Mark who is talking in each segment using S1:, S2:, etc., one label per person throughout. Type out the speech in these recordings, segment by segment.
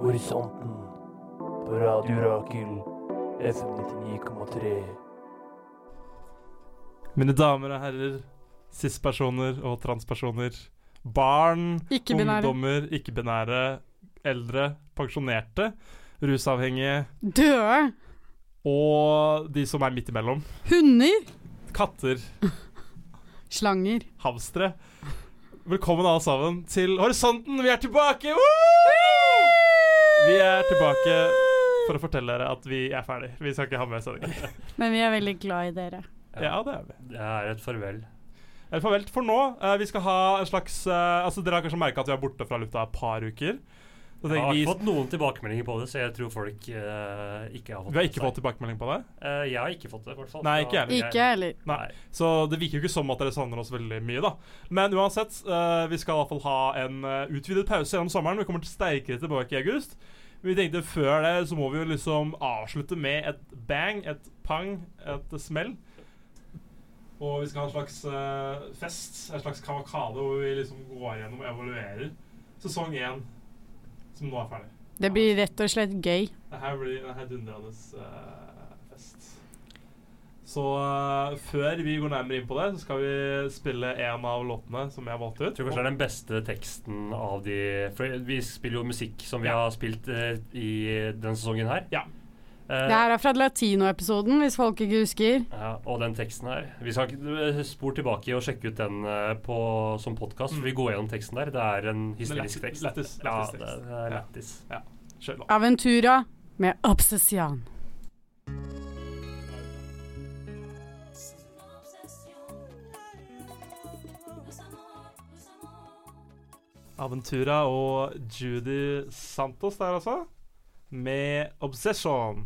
S1: Horisonten på Radio Rakel FM 99,3.
S2: Mine damer og herrer, cis-personer og transpersoner, barn,
S3: Ikke-binære.
S2: ungdommer, ikke-binære, eldre, pensjonerte, rusavhengige
S3: Døde.
S2: og de som er midt imellom.
S3: Hunder.
S2: Katter,
S3: Slanger.
S2: havstre. Velkommen alle sammen til Horisonten, vi er tilbake! Woo! Vi er tilbake for å fortelle dere at vi er ferdig. Vi skal ikke ha mer sending.
S3: Men vi er veldig glad i dere.
S2: Ja, det er vi.
S4: Det er et farvel.
S2: Eller farvel for nå. Eh, vi skal ha en slags eh, Altså Dere har kanskje merka at vi er borte fra lufta et par uker.
S4: Jeg
S2: Så tenker
S4: har
S2: vi,
S4: ikke fått noen tilbakemeldinger på det, så jeg tror folk eh, ikke har fått
S2: vi har ikke fått tilbakemelding på det.
S4: Eh, jeg har ikke fått det, i hvert fall.
S2: Nei, ikke jeg
S3: Ikke jeg heller.
S2: Nei. Så det virker jo ikke som at dere savner oss veldig mye, da. Men uansett, eh, vi skal i hvert fall ha en eh, utvidet pause gjennom sommeren. Vi kommer til sterkere tilbake i august. Vi tenkte før det så må vi jo liksom avslutte med et bang, et pang, et smell. Og vi skal ha en slags eh, fest, en slags kavalkade, hvor vi liksom går gjennom og evaluerer sesong én, som nå er ferdig.
S3: Det blir rett og slett gøy.
S2: Det her blir en heidundrende eh, fest. Så eh, før vi går nærmere inn på det, så skal vi spille en av låtene som jeg valgte
S4: Jeg
S2: ut.
S4: tror kanskje det er den beste teksten av de For vi spiller jo musikk som vi
S2: Ja.
S4: har spilt eh, i denne sesongen her.
S2: Ja.
S4: Eh,
S3: Det her er fra latinoepisoden, hvis folk ikke husker.
S4: ja, og den teksten her. Vi skal ikke eh, spor tilbake og sjekke ut den eh, på, som podkast.
S2: Mm.
S4: Vi går gjennom teksten der. Det er en
S2: lættis-
S4: hysterisk tekst.
S2: lættis-
S4: ja,
S2: lættis
S4: det,
S2: tekst.
S4: det er
S2: Ja.
S4: lættis.
S2: Kjør låt.
S3: Aventura med Obsession.
S2: Aventura og Judy Santos der, altså. Med 'Obsession'.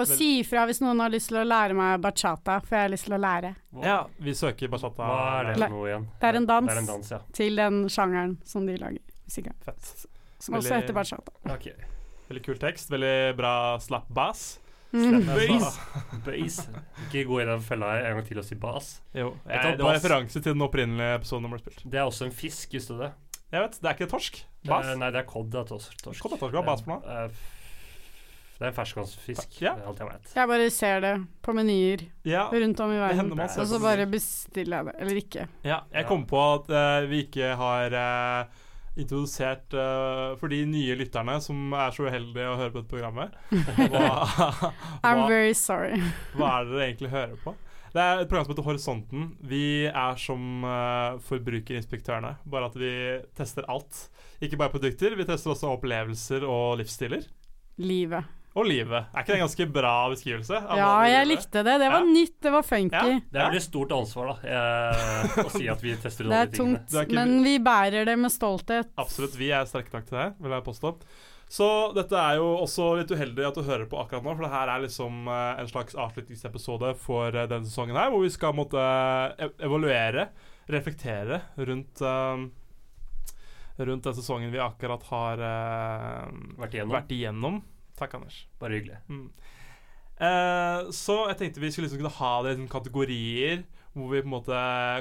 S3: Og si ifra hvis noen har lyst til å lære meg bachata, for jeg har lyst til å lære.
S4: Hva,
S2: Ja, vi søker bachata.
S4: hva er det
S3: Nei.
S4: for noe igjen?
S3: Det er en dans.
S4: Det er en dans, ja.
S3: Til den sjangeren som de lager musikk av.
S2: Fett.
S3: Som også
S2: Veldig-
S3: heter bachata.
S4: Okay.
S2: Veldig kul tekst. Veldig bra slap bass.
S3: Mm.
S2: Bass.
S4: Base. Ikke gå i den fella her en gang til og si bas.
S2: Jo,
S4: Jeg tar
S2: jeg, det var
S4: bass.
S2: referanse til den opprinnelige episoden den ble spilt.
S4: Det er også en fisk, visste du det?
S2: Jeg vet, det er ikke torsk. Bass.
S4: Eh, nei, det er kodd. Det er tors- torsk.
S2: Kodd er torsk, hva er bass for
S4: Eh, f- Det er en ferskvannsfisk.
S2: Ja.
S4: Det er alt jeg vet.
S3: Jeg bare ser det på menyer
S2: Ja,
S3: rundt om i
S2: det
S3: verden.
S2: hender man ser
S3: Og så
S2: på
S3: bare bestiller jeg det. Eller ikke.
S2: Ja, jeg
S4: Ja.
S2: kom på at eh, vi ikke har eh, introdusert eh, for de nye lytterne som er så uheldige å høre på dette programmet. Hva,
S3: I'm
S2: hva,
S3: very sorry.
S2: hva er det dere egentlig hører på? Det er et program som heter Horisonten. Vi er som eh, forbrukerinspektørene, bare at vi tester alt. Ikke bare produkter, vi tester også opplevelser og livsstiler.
S3: Livet.
S2: Og livet. Er ikke det en ganske bra beskrivelse? av
S3: Ja,
S2: hva vi
S3: jeg
S2: driver med?
S3: likte det. Det var
S2: Ja.
S3: nytt, det var funky.
S2: Ja.
S4: Det er veldig stort ansvar, da, eh, å si at vi tester ut
S3: Det
S4: alle
S3: er
S4: de tingene.
S3: tungt,
S2: Det er ikke-
S3: men vi bærer det med stolthet.
S2: Absolutt. Vi er sterke nok til det, vil jeg påstå. Så dette er jo også litt uheldig at du hører på akkurat nå, for det her er liksom eh, en slags avslutningsepisode for eh, denne sesongen her, hvor vi skal måtte eh, ev- evaluere, reflektere rundt eh, Rundt den sesongen vi akkurat har eh,
S4: Vært igjennom.
S2: vært igjennom. Takk, Anders.
S4: Bare hyggelig.
S2: Mm. Eh, så jeg tenkte vi skulle liksom kunne ha det i sånne kategorier hvor vi på en måte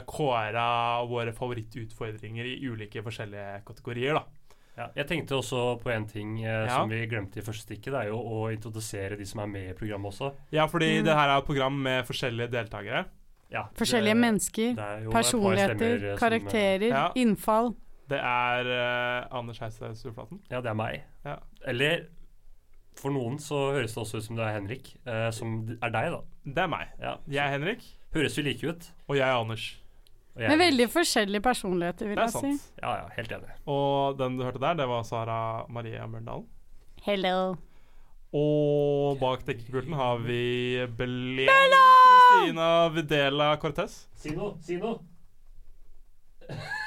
S2: kåra våre favorittutfordringer i ulike forskjellige kategorier, da.
S4: Ja, jeg tenkte også på en ting eh,
S2: Ja.
S4: som vi glemte i første stikket. Det er jo å introdusere de som er med i programmet også.
S2: Ja, fordi
S3: Mm.
S2: det her er et program med forskjellige deltakere.
S4: Ja,
S3: Forskjellige
S4: det-
S3: mennesker,
S4: det er jo et par stemmer, eh,
S3: personligheter,
S4: som, eh,
S3: karakterer,
S2: ja.
S3: innfall.
S2: Det er eh, Anders Heistad Surflaten.
S4: Ja, det er meg.
S2: Ja.
S4: Eller for noen så høres det også ut som det er Henrik, eh, som d- er deg, da.
S2: Det er meg.
S4: Ja.
S2: Jeg er Henrik,
S4: Høres jo like ut.
S2: og jeg er Anders.
S4: og jeg-
S3: Med veldig forskjellige personligheter,
S2: Det
S3: vil
S2: er
S3: jeg si.
S2: sant.
S4: Ja, ja, helt enig.
S2: Og den du hørte der, det var Sara Maria Mørndalen.
S3: Hello.
S2: Og bak dekkepulten har vi Belen Kristina Videla Cortez.
S4: Si noe, si noe!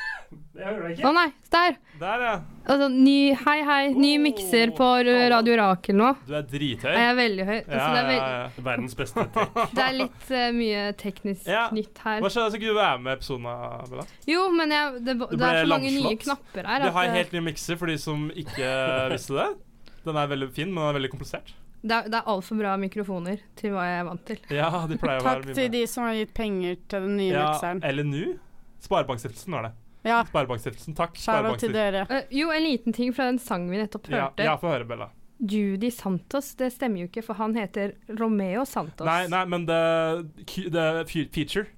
S4: Jeg hører deg
S5: Å nei, der.
S2: Der, ja.
S5: Altså, ny, hei, hei. Ny
S2: Oh.
S5: mikser på r- Radio Rakel nå.
S2: Du er drithøy.
S5: Jeg er veldig høy. Altså, det, er veld-
S2: ja, ja.
S4: Verdens beste trekk.
S5: det er litt eh, mye teknisk
S2: Ja.
S5: nytt
S2: Hva
S5: her.
S2: skjedde? Skal ikke du være med i episoden? av- Bella?
S5: Jo, men jeg, det, det
S2: Du
S5: er
S2: ble
S5: så mange nye
S2: lamslått.
S5: knapper her.
S2: Vi
S5: at
S2: har en
S5: det-
S2: helt ny mikser for de som ikke visste det. Den er veldig fin, men den er veldig komplisert.
S5: Det er, det er altfor bra mikrofoner til hva jeg er vant til.
S2: Ja, de pleier å være
S3: Takk
S2: mye
S3: til
S2: bedre.
S3: de som har gitt penger til den nye
S2: Ja,
S3: mikseren.
S2: eller NU. Sparebankstiftelsen var det.
S3: Ja,
S2: Sparebankstiftelsen. Takk.
S3: skjæra til
S2: Sparebankstiftelsen.
S3: dere.
S5: Eh, jo, en liten ting fra den sangen vi nettopp
S2: Ja,
S5: hørte.
S2: ja, få høre, Bella.
S5: Judy Santos, det stemmer jo ikke, for han heter Romeo Santos.
S2: Nei, nei, men det, ki- det fe- feature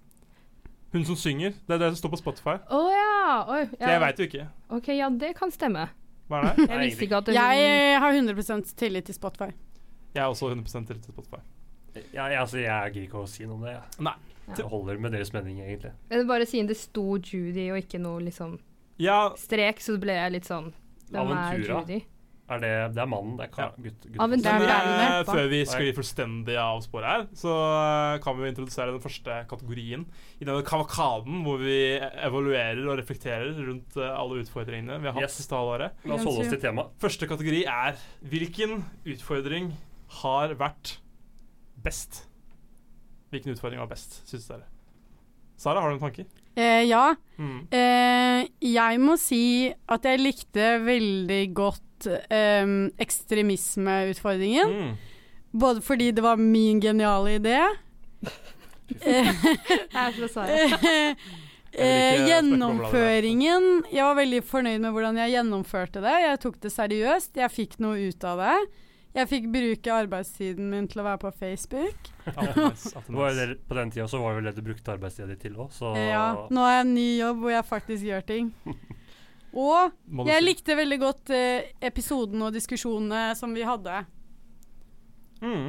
S2: Hun som synger. Det er det som står på Spotify.
S5: Å ja! Oi, ja.
S2: Så jeg veit jo ikke.
S5: Ok, ja, det kan stemme.
S2: Hva er det?
S5: Jeg
S4: Nei,
S5: visste ikke at det
S3: Jeg eh, har 100 tillit til Spotify.
S2: Jeg er også 100 rett til Spotify.
S4: Ja, jeg, altså, jeg gidder ikke å si noe om det. Jeg.
S2: Nei.
S4: Det holder med deres mening, egentlig.
S5: Men Bare siden det sto Judy og ikke noe liksom
S2: Ja,
S5: strek, så ble jeg litt sånn Hvem er
S4: Aventura.
S5: Judy?
S4: Er det, det er mannen. Det er
S2: Ja.
S4: kar, gutt, gutt,
S5: Aventura.
S2: Men
S3: Det er
S2: eh,
S3: regnet, da.
S2: før vi sklir fullstendig av sporet her, så eh, kan vi jo introdusere den første kategorien i denne kavakaden hvor vi evaluerer og reflekterer rundt eh, alle utfordringene vi har hatt
S4: Yes.
S2: siste halvåret.
S4: La oss holde oss til temaet.
S2: Første kategori er hvilken utfordring har vært best? Hvilken utfordring var best, syns dere? Sara, har du noen tanker?
S3: Eh, ja,
S4: Hmm.
S2: Mm.
S3: Eh, jeg må si at jeg likte veldig godt eh, ekstremismeutfordringen.
S4: Hmm.
S2: Mm.
S3: Både fordi det var min geniale idé
S5: Jeg slår svaret.
S3: eh,
S2: Jeg vil ikke
S3: Gjennomføringen Jeg var veldig fornøyd med hvordan jeg gjennomførte det. Jeg tok det seriøst. Jeg fikk noe ut av det. Jeg fikk bruke arbeidstiden min til å være på Facebook.
S2: Alltid nice, alltid
S4: Det var jo
S2: nice.
S4: det, på den tida så var det vel det du brukte arbeidstida di til òg, så
S3: Eh, ja. Nå har jeg en ny jobb hvor jeg faktisk gjør ting. Og
S2: Må du
S3: Jeg
S2: si.
S3: likte veldig godt eh, episoden og diskusjonene som vi hadde.
S4: Hmm.
S2: Mm.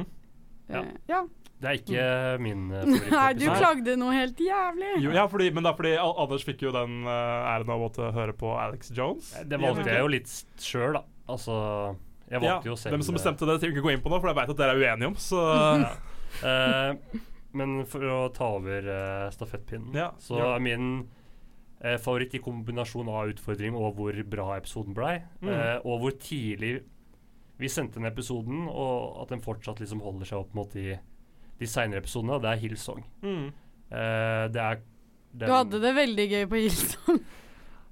S4: Ja.
S3: Eh, ja.
S4: det er ikke min eh,
S3: Mm. Nei, du
S4: favorittepisode.
S3: klagde noe helt jævlig.
S2: Jo, ja, fordi, men det er fordi Al- Anders fikk jo den eh, æren av å måtte høre på Alex Jones.
S4: Eh, Det valgte jeg jo litt sjøl, da. Altså Jeg valgte jo selv
S2: Hvem som bestemte det, trenger vi ikke gå inn på nå, for jeg veit at dere er uenige om. Så
S4: Eh, men for å ta over eh, stafettpinnen,
S2: Ja,
S4: så
S2: gjør
S4: er min eh, favoritt i kombinasjon av utfordring og hvor bra episoden blei,
S2: Mm.
S4: eh, og hvor tidlig vi sendte den episoden, og at den fortsatt liksom holder seg opp mot de, de seinere episodene, og det er Hillsong.
S2: mm.
S4: Eh, det er
S3: Du hadde det veldig gøy på Hilson.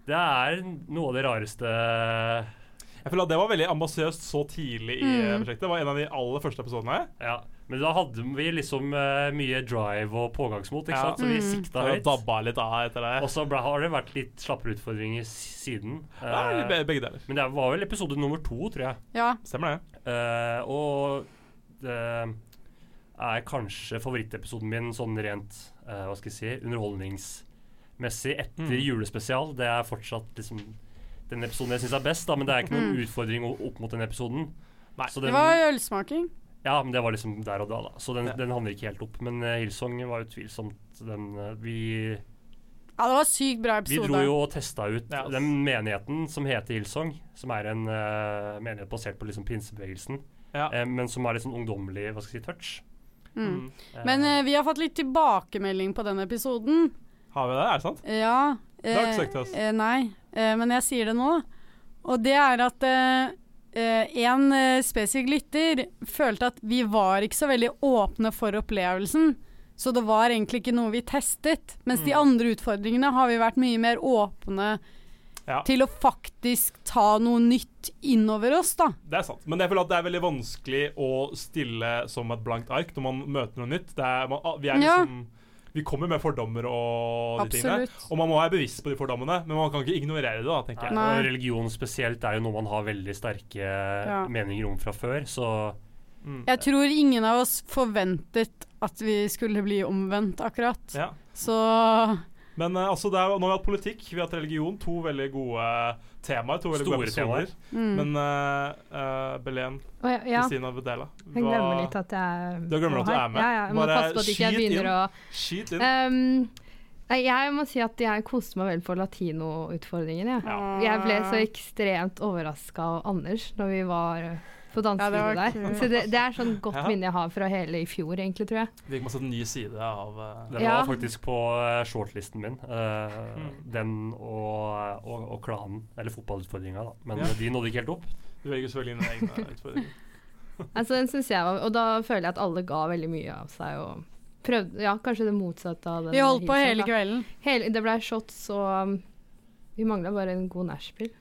S4: Det er noe av det rareste
S2: Jeg føler at det var veldig ambisiøst så tidlig i eh,
S3: Mm.
S2: prosjektet. Det var en av de aller første episodene.
S4: Ja. Men da hadde vi liksom eh, mye drive og pågangsmot, ikke
S2: Ja.
S4: sant? Så vi
S3: Mm.
S4: sikta
S2: Da
S4: høyt.
S2: dabba litt av etter det.
S4: Og så ble- har det vært litt slappere utfordringer s- siden. Eh,
S2: Ja, eller be- begge deler.
S4: men det var vel episode nummer to, tror jeg.
S3: Ja.
S2: Stemmer det.
S4: Eh, og det er kanskje favorittepisoden min sånn rent eh, hva skal jeg si, underholdningsmessig etter
S2: Mm.
S4: julespesial. Det er fortsatt liksom den episoden jeg syns er best, da, men det er ikke noen
S3: Mm.
S4: utfordring o- opp mot den episoden.
S2: Nei.
S4: Så
S3: Det
S4: den,
S3: var ølsmaking.
S4: ja, men det var liksom der og da, da. Så den,
S2: Ja.
S4: den havner ikke helt opp. Men eh, Hillsong var utvilsomt den eh, vi
S3: Ja, det var sykt bra
S4: Vi
S3: episode.
S4: dro jo og testa ut
S2: Ja, ass.
S4: den menigheten som heter Hillsong, som er en eh, menighet basert på liksom pinsebevegelsen,
S2: Ja.
S4: eh, men som er litt sånn ungdommelig hva skal jeg si, touch.
S3: Mm.
S2: Mm.
S4: Eh,
S3: Men eh, vi har fått litt tilbakemelding på den episoden.
S2: Har vi det? Er det sant?
S3: Ja.
S2: Det har ikke sagt til oss.
S3: eh, nei, eh, men jeg sier det nå. Og det er at eh, eh, en eh, spesifikk lytter følte at vi var ikke så veldig åpne for opplevelsen. Så det var egentlig ikke noe vi testet. Mens de
S2: Mm.
S3: andre utfordringene har vi vært mye mer åpne
S2: Ja.
S3: til å faktisk ta noe nytt innover oss, da.
S2: Det er sant. Men jeg føler at det er veldig vanskelig å stille som et blankt ark når man møter noe nytt. Det er, man, vi er
S3: Ja.
S2: liksom Vi kommer med fordommer og de tingene.
S3: Absolutt.
S2: Og man må være bevisst på de fordommene, men man kan ikke ignorere det, da, tenker jeg.
S4: Nei.
S3: Nei.
S4: Og religion spesielt er jo noe man har veldig sterke meninger om fra før, så
S2: Mm.
S3: Jeg tror ingen av oss forventet at vi skulle bli omvendt, akkurat.
S2: Ja.
S3: Så
S2: Men eh, altså, det er, nå har vi hatt politikk, vi har hatt religion. To veldig gode eh, temaer. To veldig
S4: Store
S2: gode episoder.
S3: mm.
S2: Men uh, Belen,
S5: Å, ja, ja.
S2: Kristina Vedela
S5: Jeg glemmer litt at jeg
S2: Du glemmer at du
S5: var
S2: er med.
S5: her. Ja, ja. Jeg må
S2: Bare
S5: passe på at ikke jeg
S2: skyt
S5: begynner
S2: inn.
S5: å
S2: Skyt inn.
S5: Ehm, nei, Jeg må si at jeg koste meg veldig på latinoutfordringen, jeg. Jeg ble så ekstremt overraska av Anders når vi var eh, på
S3: Ja, det
S5: dansegulvet
S3: var
S5: der. Så det, det er sånn godt
S2: Ja.
S5: minne jeg har fra hele i fjor, egentlig, tror jeg.
S2: Vi fikk masse ny side av eh,
S4: den
S5: Ja.
S4: var faktisk på eh, shortlisten min. eh,
S2: Mm.
S4: Den og, eh, og, og klanen, eller fotballutfordringa, da. Men
S2: Ja.
S4: de nådde ikke helt opp.
S2: Du velger selvfølgelig dine egne utfordringer.
S5: Altså, den synes jeg var, Og da føler jeg at alle ga veldig mye av seg og prøvde Ja, kanskje det motsatte av den.
S3: Vi holdt på
S5: hilsen,
S3: hele
S5: da.
S3: kvelden.
S5: Hele, det ble shots og um, Vi mangla bare en god nachspiel.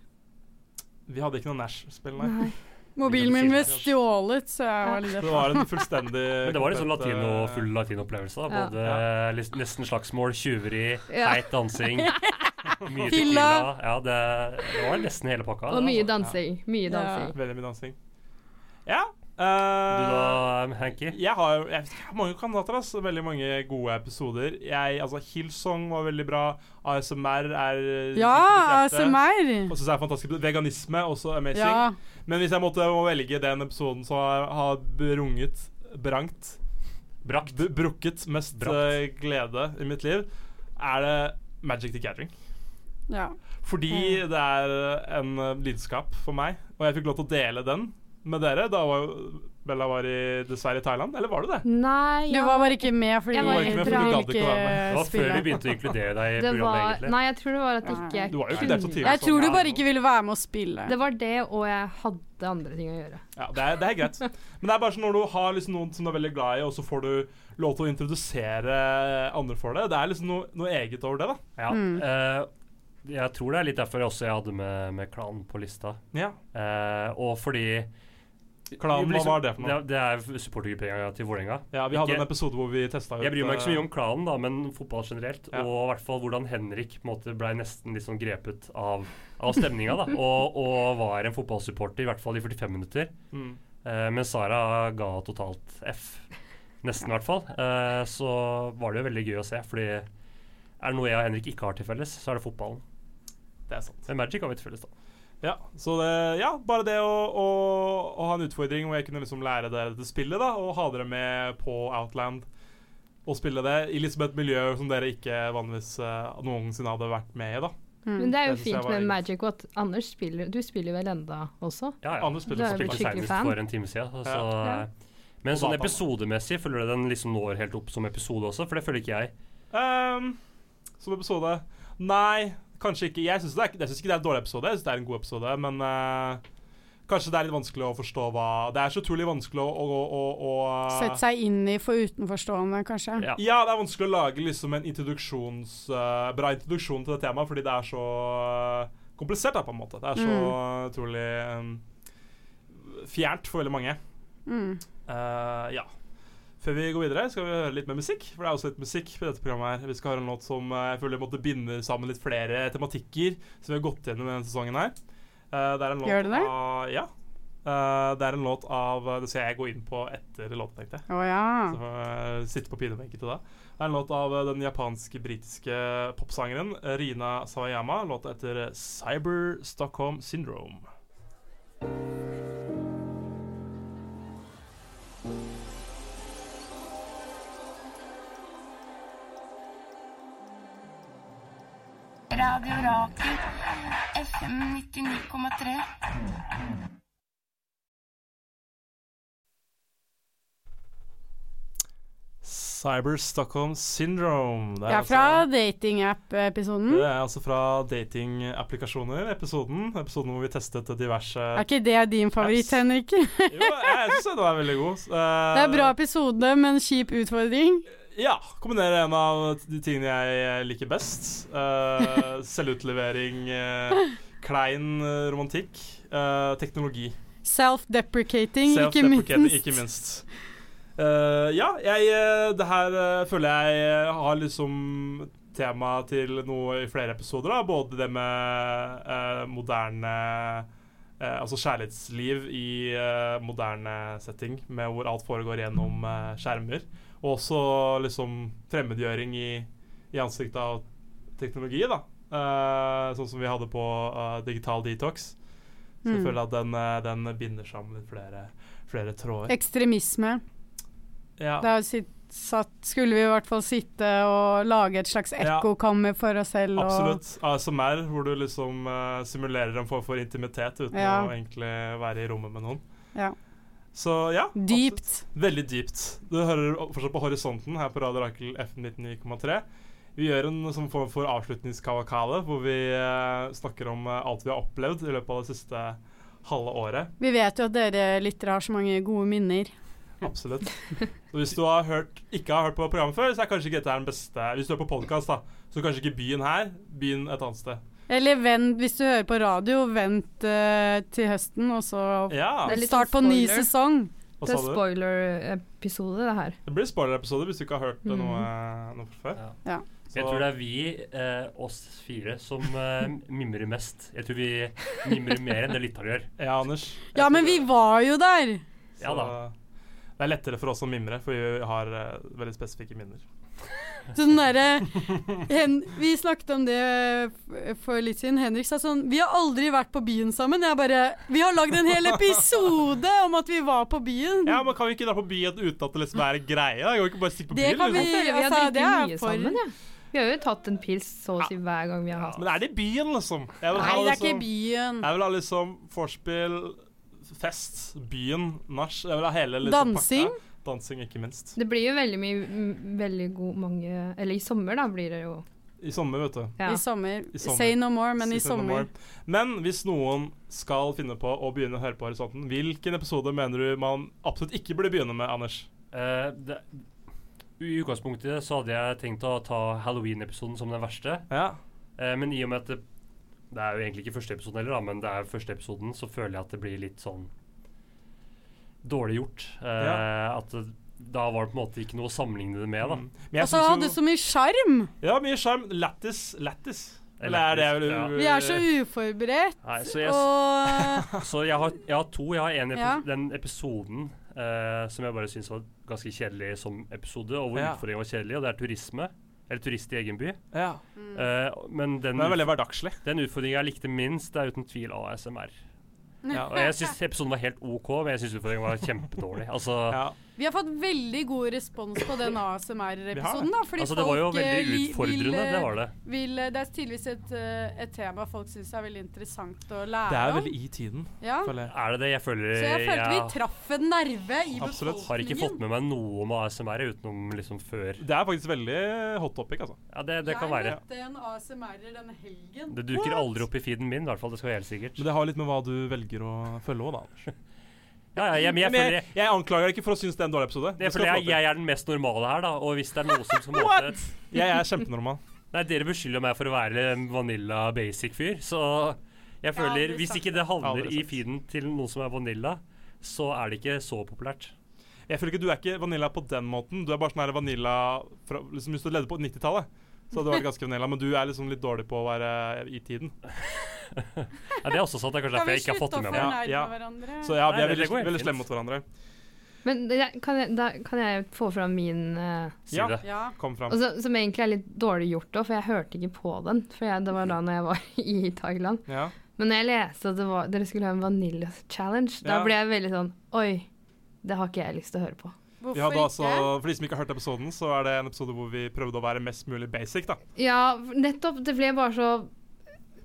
S2: Vi hadde ikke noe Nash-spill, nei.
S5: Nei.
S3: Mobilen min ble stjålet, så jeg var litt
S2: Det var en fullstendig
S4: Men det var litt sånn
S2: komplett,
S4: latino,
S2: eh,
S4: full latinoopplevelse. da.
S5: Ja.
S4: Både
S2: Ja.
S4: eh, lis- nesten slagsmål, tjuveri,
S5: Ja.
S4: feit dansing. Mye tequila.
S3: Fylla.
S4: Ja, det, det var nesten hele pakka.
S5: Og mye
S2: sånn,
S4: det, altså.
S5: dansing. Mye dansing.
S2: Veldig mye dansing. eh, Ja.
S4: Du
S2: eh,
S4: da, um, Hanky?
S2: Jeg har jo jeg vet ikke, jeg har mange kandidater. ass. Veldig mange gode episoder. Jeg, altså Hillsong var veldig bra. ASMR er
S3: Ja,
S2: mitt hjerte.
S3: ASMR!
S2: Og synes jeg er fantastisk Veganisme også amazing.
S3: Ja.
S2: Men hvis jeg måtte må velge den episoden som har- har brunget Brangt Brakt br Brukket mest
S4: Brakt.
S2: eh, glede i mitt liv, er det Magic the Gathering.
S3: ja.
S2: Fordi det er en eh, lidenskap for meg, og jeg fikk lov til å dele den med dere. Da var jo Bella var i, dessverre i Thailand. Eller var du det?
S5: Nei,
S3: Du
S5: ja.
S3: var bare ikke med fordi
S5: Jeg
S3: du
S5: var ikke med, for
S2: du
S3: ville
S2: gadd ikke å være med.
S4: Det var før vi begynte å inkludere deg i
S5: det
S4: programmet,
S5: var,
S4: egentlig.
S5: nei, jeg tror det var at
S3: Nei.
S5: ikke jeg
S2: Du var jo ikke
S5: kunne.
S2: der så tidlig.
S3: Jeg tror du
S2: Ja.
S3: bare ikke ville være med å spille.
S5: Det var det, og jeg hadde andre ting å gjøre.
S2: Ja, det er, det er greit. Men det er bare sånn når du har liksom noen som du er veldig glad i, og så får du lov til å introdusere andre for det. Det er liksom noe, noe eget over det, da.
S4: Ja.
S3: Mm.
S4: eh, jeg tror det er litt derfor jeg også jeg hadde med, med Klan på lista.
S2: Ja.
S4: Eh, og fordi
S2: Klanen, hva
S4: Liksom,
S2: var det for noe?
S4: Det, det er supportergruppa til Vålerenga.
S2: Ja, vi hadde
S4: Ikke-
S2: en episode hvor vi testa ut
S4: Jeg bryr meg ikke så mye
S2: eh,
S4: om klanen, da, men fotball generelt.
S2: Ja.
S4: Og i hvert fall hvordan Henrik på en måte ble nesten litt sånn grepet av, av stemninga. da, og, og var en fotballsupporter, i hvert fall i 45 minutter.
S2: mm.
S4: Eh, men Sara ga totalt F. Nesten, i hvert fall. Eh, så var det jo veldig gøy å se. fordi er det noe jeg og Henrik ikke har til felles, så er det fotballen.
S2: Det er sant.
S4: Men Magic har vi til felles, da.
S2: Ja, så det, ja, bare det å, å, å ha en utfordring hvor jeg kunne liksom lære dere dette spillet, da, og ha dere med på Outland og spille det i liksom et miljø som dere ikke vanligvis eh, noensinne hadde vært med i, da.
S3: Mm.
S5: Men det er jo
S2: Det synes jeg
S5: fint
S2: var
S5: med
S2: litt-
S5: Magic og at Anders spiller Du spiller vel enda også?
S4: Ja, ja.
S2: Anders spiller
S5: Da er
S2: for
S5: vi
S4: spilte
S5: skikkelig
S4: senest
S5: fan.
S4: for en time siden. Så,
S5: Ja.
S4: Men
S2: Og
S4: sånn
S2: dataen.
S4: episodemessig føler du den liksom når helt opp som episode også? For det føler ikke jeg.
S2: Ehm, som episode Nei, kanskje ikke. Jeg syns ikke, jeg synes ikke det er en dårlig episode. Jeg synes det er en god episode, men eh, kanskje det er litt vanskelig å forstå hva Det er så utrolig vanskelig å, å, å, å eh,
S3: Sette seg inn i for utenforstående, kanskje.
S4: Ja.
S2: Ah. Ja, det er vanskelig å lage liksom en introduksjons, eh, bra introduksjon til det temaet, fordi det er så eh, komplisert, da, på en måte. Det er så
S3: Mm.
S2: utrolig eh, fjernt for veldig mange.
S3: Mm.
S2: Eh, ja. Før vi går videre, skal vi høre litt mer musikk. For det er også litt musikk på dette programmet her. Vi skal høre en låt som eh, jeg føler måtte binde sammen litt flere tematikker som vi har gått gjennom i denne sesongen her. Eh, det er en låt
S3: Gjør det det?
S2: Av, ja. Eh, det er en låt av Det skal jeg gå inn på etter låten, tenkte jeg.
S3: Å ja.
S2: Så får jeg sitte på pinebenken til da. Det er en låt av eh, den japanske-britiske popsangeren eh, Rina Sawayama. Låta etter Cyber Stockholm Syndrome.
S6: Radio Rakel, FM 99,3.
S2: Cyber Stockholm Syndrome. Det altså
S3: Jeg er fra datingapp-episoden.
S2: Det er altså fra datingapplikasjoner, episoden. Episoden hvor vi testet diverse
S3: Er ikke det din favoritt,
S2: Apps.
S3: Henrik?
S2: Jo, jeg syns den var veldig god.
S3: Det er bra episode, men kjip utfordring.
S2: Eh, Ja. Kombinerer en av de tingene jeg liker best. Eh, selvutlevering, eh, klein eh, romantikk, eh, teknologi.
S3: Self-deprecating, ikke
S2: Self-deprecating,
S3: minst.
S2: Ikke minst. Eh, ja, jeg eh, Det her eh, føler jeg eh, har liksom tema til noe i flere episoder. da Både det med eh, moderne eh, Altså kjærlighetsliv i eh, moderne setting, med hvor alt foregår gjennom eh, skjermer. Og også liksom fremmedgjøring i, i ansiktet av teknologi, da. Eh, sånn som vi hadde på eh, Digital Detox. Så jeg
S3: Mm.
S2: føler at den, eh, den binder sammen litt flere, flere tråder.
S3: Ekstremisme.
S2: Ja.
S3: Det er jo sitt, satt, skulle vi i hvert fall sitte og lage et slags
S2: Ja.
S3: ekkokammer for oss selv. og-
S2: Absolutt. ASMR, hvor du liksom eh, simulerer en form for intimitet uten
S3: Ja.
S2: å egentlig være i rommet med noen.
S3: Ja.
S2: Så ja. absolutt.
S3: Dypt.
S2: Veldig dypt. Du hører fortsatt på Horisonten her på Radio Rakel FN 99,3. Vi gjør en sånn form for avslutningskavakale, hvor vi eh, snakker om eh, alt vi har opplevd i løpet av det siste halve året.
S3: Vi vet jo at dere lyttere har så mange gode minner.
S2: Absolutt. Så hvis du har hørt, ikke har hørt på programmet før, så er kanskje ikke dette den beste Hvis du er på podkast, da, så kanskje ikke byen her, byen et annet sted.
S3: Eller vent, hvis du hører på radio, vent eh, til høsten, og så
S2: Ja.
S5: Det er litt
S3: start på ny
S5: spoiler.
S3: sesong.
S2: Hva
S5: Det
S2: sa
S5: er
S2: du?
S5: spoiler-episode, det her.
S2: Det blir spoiler-episode hvis du ikke har hørt eh,
S5: Mm.
S2: noe, noe fra før.
S4: Ja.
S3: Ja.
S4: Jeg tror det er vi, eh, oss fire, som eh, mimrer mest. Jeg tror vi mimrer mer enn det Littal gjør.
S2: Ja, Anders.
S3: Ja, men vi var jo der!
S2: Så,
S4: Ja da.
S2: Det er lettere for oss å mimre, for vi har eh, veldig spesifikke minner.
S3: Sånn derre Hen- Vi snakket om det f- for litt siden. Henrik sa sånn Vi har aldri vært på byen sammen. Jeg bare Vi har lagd en hel episode om at vi var på byen.
S2: Ja, men Kan vi ikke dra på byen uten at det liksom er greie? da? Jeg kan vi ikke bare stikke på
S3: Det
S2: byen. liksom?
S3: kan
S5: Jeg føler vi har
S3: Altså, det
S5: drukket
S3: er
S5: mye
S3: for-
S5: sammen, ja. Vi har jo tatt en pils så å si hver gang vi har hatt
S2: Men er det i byen, liksom? Jeg
S3: Nei,
S2: ha
S3: det er ikke
S2: liksom-
S4: sånn.
S3: byen.
S2: Jeg vil ha liksom vorspiel, fest, byen, nach. Jeg vil ha hele liksom
S3: Dansing.
S2: Pakka. Dansing, ikke minst.
S5: Det blir jo veldig mye m- Veldig god mange Eller i sommer, da, blir det jo
S2: I sommer, vet du.
S5: ja.
S3: I sommer.
S2: I sommer.
S3: Say no more, men i
S2: Siste
S3: sommer.
S2: nummer. Men hvis noen skal finne på å begynne å høre på Horisonten, hvilken episode mener du man absolutt ikke burde begynne med, Anders?
S4: Eh, det, I utgangspunktet så hadde jeg tenkt å ta Halloween-episoden som den verste.
S2: Ja.
S4: Eh, men i og med at det, det er jo egentlig ikke første episoden heller, da, men det er første episoden, så føler jeg at det blir litt sånn dårlig gjort. Eh, At det, da var det på en måte ikke noe å sammenligne det med, da.
S2: Mm. Men jeg
S3: Og så
S2: synes
S3: hadde
S2: jo-
S3: Altså, du så mye sjarm!
S2: Ja, mye sjarm. Lættis. Lættis. Eller er det jeg vil
S4: Ja.
S3: Vi er så
S4: Eh,
S3: uforberedt.
S4: Nei, så jeg,
S3: Og
S4: så jeg, har, jeg har to. Jeg har en epi
S3: Ja.
S4: den episoden eh, som jeg bare syns var ganske kjedelig som episode, og hvor
S2: Ja.
S4: utfordringen var kjedelig, og det er turisme. Eller turist i egen by.
S2: ja.
S3: Mm.
S4: Eh, men den,
S2: Den er veldig hverdagslig.
S4: den utfordringen jeg likte minst, det er uten tvil ASMR.
S2: Ja.
S4: Og jeg syns episoden var helt OK, men jeg syns utfordringen var kjempedårlig. Altså,
S2: Ja.
S3: vi har fått veldig god respons på den ASMR-episoden, da. Fordi
S4: altså, det var jo
S3: folk, eh,
S4: veldig
S3: li- vil,
S4: utfordrende,
S3: eh,
S4: det var det.
S3: Vil, eh, det er tydeligvis et, eh, et tema folk syns er veldig interessant å lære
S2: Det er
S3: om.
S2: veldig i tiden,
S3: ja.
S2: føler jeg.
S4: Er det det? Jeg føler
S3: Så jeg følte vi traff en nerve i
S2: Absolutt.
S3: befolkningen.
S4: har ikke fått med meg noe om ASMR utenom liksom før
S2: Det er faktisk veldig hot topic, altså.
S4: Ja, det, det kan være.
S3: Jeg møtte en ASMR-er denne helgen.
S4: Det duker
S3: What?
S4: aldri opp i feeden min, i hvert fall. Det skal være helt sikkert.
S2: Men det har litt med hva du velger å følge òg, da. Anders.
S4: Ja, ja, jeg, men jeg
S2: Men
S4: føler
S2: jeg, jeg anklager deg ikke for å synes det er en dårlig episode.
S4: jeg,
S2: Det skal
S4: føler
S2: du få
S4: jeg,
S2: lov til.
S4: jeg er den mest normale her, da. Og hvis det er noe som som på en måte
S2: jeg er kjempenormal.
S4: Nei, dere beskylder meg for å være en vanilla basic-fyr, så jeg
S3: har
S4: føler
S3: aldri
S4: Hvis
S3: sagt
S4: ikke
S3: det.
S4: det havner
S2: Aldri
S4: i
S2: sagt.
S4: feeden til noen som er vanilla, så er det ikke så populært.
S2: Jeg føler ikke du er ikke vanilla på den måten. Du er bare sånn her vanilla fra, liksom, Hvis du ledde på 90-tallet, så hadde du vært ganske vanilla. Men du er liksom litt dårlig på å være i tiden.
S4: Ja, det er også sant. Det er kanskje
S3: Kan
S4: derfor
S3: vi
S4: jeg ikke har fått
S3: slutte å
S4: det med meg.
S3: fornærme
S2: Ja, ja.
S3: hverandre?
S2: Så ja, vi
S4: Nei,
S2: er
S4: det-
S2: veldig,
S4: det går helt
S2: veldig
S4: fint.
S2: slemme mot hverandre.
S5: Men jeg, kan, jeg, da kan jeg få fram min eh,
S4: Si
S2: Ja.
S4: det.
S3: ja.
S2: Kom fram.
S5: altså, Som egentlig er litt dårlig gjort òg, for jeg hørte ikke på den. For jeg, det var da når jeg var i Thailand.
S2: Ja.
S5: Men når jeg leste at det var, dere skulle ha en vanilla challenge, da
S2: Ja.
S5: ble jeg veldig sånn Oi, det har ikke jeg lyst til å høre på.
S3: Hvorfor
S2: Vi hadde altså,
S3: ikke?
S2: for de som ikke har hørt episoden, så er det en episode hvor vi prøvde å være mest mulig basic, da.
S5: Ja, nettopp. Det ble bare så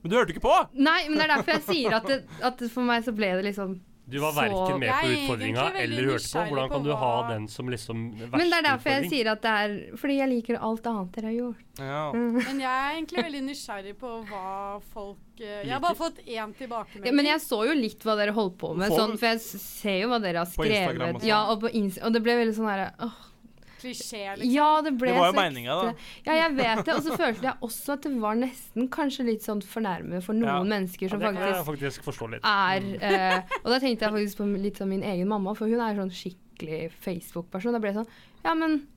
S2: Men du hørte ikke på!
S5: Nei, men det er derfor jeg sier at, det, at det for meg så ble det liksom
S4: Du var
S5: Så-
S4: verken med
S3: Jeg
S4: på
S3: er
S4: utfordringa
S3: egentlig veldig
S4: eller hørte på.
S3: nysgjerrig
S4: Hvordan kan
S3: på
S4: du ha
S3: hva-
S4: den som liksom verste
S5: Men det er derfor jeg
S4: utfordring?
S5: sier at det er Fordi jeg liker alt annet dere har gjort.
S2: Ja.
S5: Mhm.
S3: Men jeg er egentlig veldig nysgjerrig på hva folk eh, Jeg har bare fått én tilbakemelding.
S5: Ja, men jeg så jo litt hva dere holdt på med,
S2: Får-
S5: sånn, for jeg s- ser jo hva dere har
S2: På Instagram og
S5: skrevet.
S2: sånn.
S5: Ja, og, på Inst og det ble veldig sånn herre åh,
S3: Klisjé, liksom.
S5: Ja, det ble
S2: Det var jo
S5: så
S2: meninga, da.
S5: ekstra- Ja, jeg vet det. Og så følte jeg også at det var nesten kanskje litt sånn fornærmende for noen
S2: Ja.
S5: mennesker
S4: Ja,
S5: som
S4: det kan jeg
S5: faktisk
S4: faktisk forstå
S3: Ah.
S4: litt.
S5: er eh, Og da tenkte jeg faktisk på litt sånn min egen mamma, for hun er sånn skikkelig Facebook-person. Da ble jeg sånn Ja, men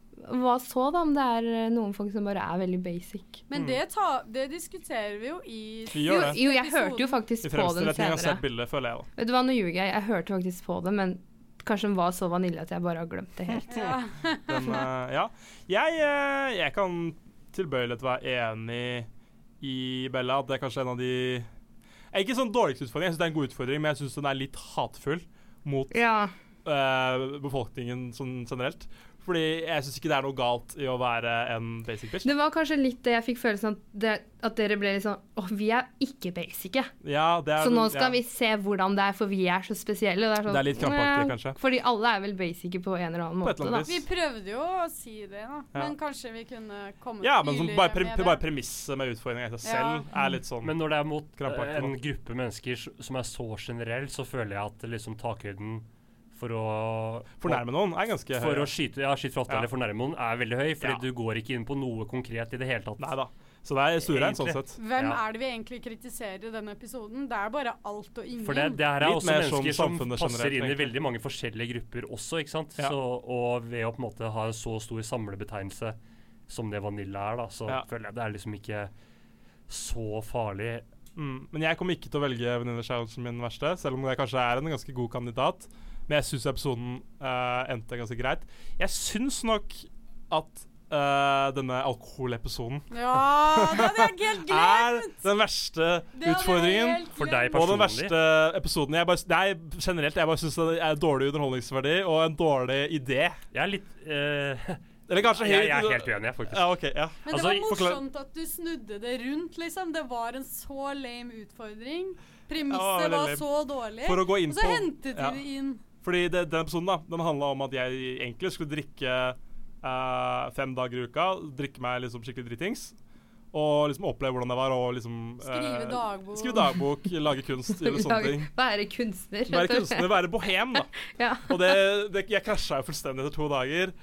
S5: hva så, da, om det er eh, noen folk som bare er veldig basic?
S3: Men det, ta, det diskuterer vi jo i
S2: Vi
S5: Jo,
S2: gjør det.
S5: jo, jeg hørte jo faktisk
S2: I
S5: på
S2: fremste
S5: den
S2: retning har sett
S5: senere.
S2: bildet, føler jeg, da.
S5: Vet du hva, nå ljuger jeg. Jeg hørte faktisk på det, men kanskje den var så vanilje at jeg bare har glemt det helt.
S3: Ja.
S2: Den, eh, ja. Jeg, eh, jeg kan tilbøyelighet være enig i Bella at det er kanskje en av de Eh, Ikke sånn dårligste utfordring, jeg syns det er en god utfordring, men jeg syns den er litt hatefull mot
S5: Ja.
S2: eh, befolkningen sånn generelt. Fordi jeg syns ikke det er noe galt i å være en basic bitch.
S5: Det var kanskje litt det jeg fikk følelsen at, det, at dere ble litt sånn Å, vi er ikke basice.
S2: Ja, det er,
S5: Så nå skal
S2: ja.
S5: vi se hvordan det er, for vi er så spesielle. Det er, sånn,
S2: Det er litt krampaktig,
S5: «Nei»,
S2: kanskje.
S5: Fordi alle er vel basice på en eller annen
S2: På et
S5: måte,
S2: eller
S5: da.
S2: annet
S3: Vi
S2: vis.
S3: prøvde jo å si det, da. Men kanskje vi kunne kommet
S2: Ja, men sånn,
S3: tydeligere
S2: bare, pre
S3: med det.
S2: bare premisset med utfordringa i seg selv er litt sånn
S4: Men når det er mot eh,
S2: Krampaktig,
S4: en
S2: da.
S4: gruppe mennesker s- som er så generell, så føler jeg at liksom takhøyden for å
S2: Fornærme noen er ganske høy.
S4: For å skyte, ja, skyte fra åtte
S2: Ja.
S4: eller fornærme noen er veldig høy, fordi
S2: Ja.
S4: du går ikke inn på noe konkret i det hele tatt.
S2: Nei da. Så det er stuerein sånn
S4: Egentlig.
S2: sett.
S3: Hvem
S4: Ja.
S3: er det vi egentlig kritiserer i denne episoden? Det er bare alt og ingen.
S4: For det, det her er
S2: Litt
S4: også
S2: mer som
S4: mennesker som
S2: samfunnet
S4: passer
S2: generelt,
S4: inn i
S2: egentlig.
S4: veldig mange forskjellige grupper også, ikke sant.
S2: Ja.
S4: Så, og ved å på en måte ha en så stor samlebetegnelse som det Vanilla er, da, så
S2: Ja.
S4: føler jeg det er liksom ikke så farlig.
S2: Mm. Men jeg kommer ikke til å velge venninneskjæren som min verste, selv om jeg kanskje er en ganske god kandidat. Men jeg syns episoden eh, endte ganske greit. Jeg syns nok at eh, denne alkoholepisoden
S3: Ja, det hadde jeg helt
S2: er
S3: glemt!
S2: den verste
S3: Det hadde jeg
S2: utfordringen.
S3: helt
S4: For
S3: glemt.
S4: deg
S2: Og den
S4: personlig.
S2: verste episoden jeg bare, Nei, generelt. Jeg bare syns det er dårlig underholdningsverdi og en dårlig idé.
S4: Jeg er litt eh,
S2: Eller kanskje
S4: jeg, jeg er helt uenig, jeg, faktisk.
S2: Ja, OK. Ja.
S3: Men
S4: Altså,
S3: det var
S4: forklar-
S3: morsomt at du snudde det rundt, liksom. Det var en så lame utfordring.
S2: Ja,
S3: Premisset
S2: veldig
S3: var
S2: lame.
S3: så dårlig.
S2: For å gå inn
S3: Og så
S2: på
S3: hentet de
S2: ja.
S3: det inn.
S2: Fordi det, den episoden da, den handla om at jeg egentlig skulle drikke eh, fem dager i uka. Drikke meg liksom skikkelig dritings. Og liksom oppleve hvordan det var å liksom
S3: Skrive
S2: eh,
S3: dagbok.
S2: Skrive dagbok, lage kunst, gjøre sånne ting.
S5: Være kunstner.
S2: Være kunstner, være bohem, da.
S5: Ja.
S2: Og det, det Jeg krasja jo fullstendig etter to dager.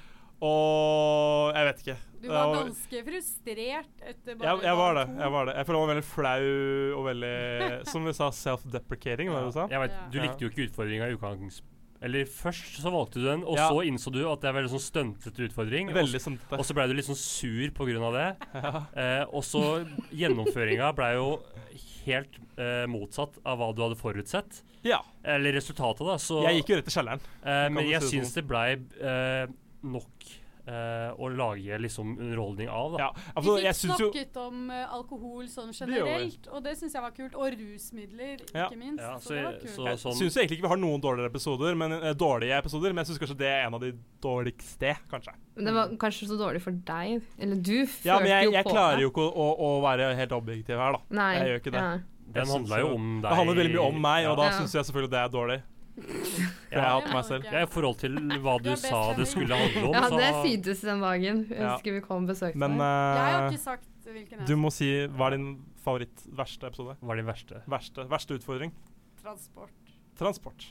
S2: Og jeg vet ikke.
S3: Du var
S2: Det
S3: ganske frustrert etter bare
S2: jeg, jeg var det.
S3: dag to.
S2: jeg var det Jeg føler meg veldig flau og veldig Som vi sa, self-deprecating. Var det du sa?
S4: Jeg vet,
S3: Ja.
S4: Du likte jo ikke utfordringa i utgangs... Eller først så valgte du den, og
S2: Ja.
S4: så innså du at det er veldig sånn stuntete utfordring. og så-
S2: Veldig
S4: Og
S2: sentete.
S4: så ble du litt sånn sur på grunn av det. Eh, og så gjennomføringa ble jo helt eh, motsatt av hva du hadde forutsett.
S2: Ja.
S4: Eller resultatet, da. Så,
S2: Jeg gikk jo rett i kjelleren.
S4: eh,
S2: kan
S4: men
S2: du
S4: jeg
S2: si det sånn.
S4: syns det blei eh, nok eh, å lage liksom underholdning av, da.
S2: Ja. Altså,
S3: vi
S2: jeg
S3: fikk
S2: syns jo
S3: snakket om eh, alkohol sånn
S2: gjorde vi.
S3: generelt, og det syns jeg var kult. Og rusmidler,
S2: Ja.
S3: ikke minst.
S4: Ja,
S3: så, det var kult.
S4: så,
S2: Jeg
S4: sånn,
S2: syns egentlig ikke vi har noen dårligere episoder, men, eh, dårlige episoder, men jeg syns kanskje det er en av de dårligste, kanskje.
S5: Men det var kanskje så dårlig for deg. Eller du følte
S2: Ja, men jeg,
S5: jo
S2: jeg
S5: på
S2: klarer
S5: det.
S2: jo ikke å, å, å være helt objektiv her, da.
S5: Nei,
S2: Jeg gjør ikke det.
S5: Ja.
S2: jeg
S4: den handla jo
S2: syns jo-
S4: om deg.
S2: Det handler veldig mye om meg, og da
S5: Ja.
S2: syns jeg selvfølgelig det er dårlig. For jeg
S4: Ja.
S2: har hatt meg selv.
S4: Ja, I forhold til hva du
S3: Du er best
S4: sa det
S3: venner.
S4: skulle handle om,
S5: Ja, det
S4: så
S5: syntes den dagen. Jeg
S2: Ja.
S5: husker vi kom og besøkte
S2: Men
S5: deg.
S3: Jeg har
S2: eh,
S3: ikke sagt hvilken
S2: du
S3: jeg
S2: må si hva er din favoritt-verste episode?
S4: var det verste.
S2: Verste, verste utfordring?
S3: transport.
S2: Transport.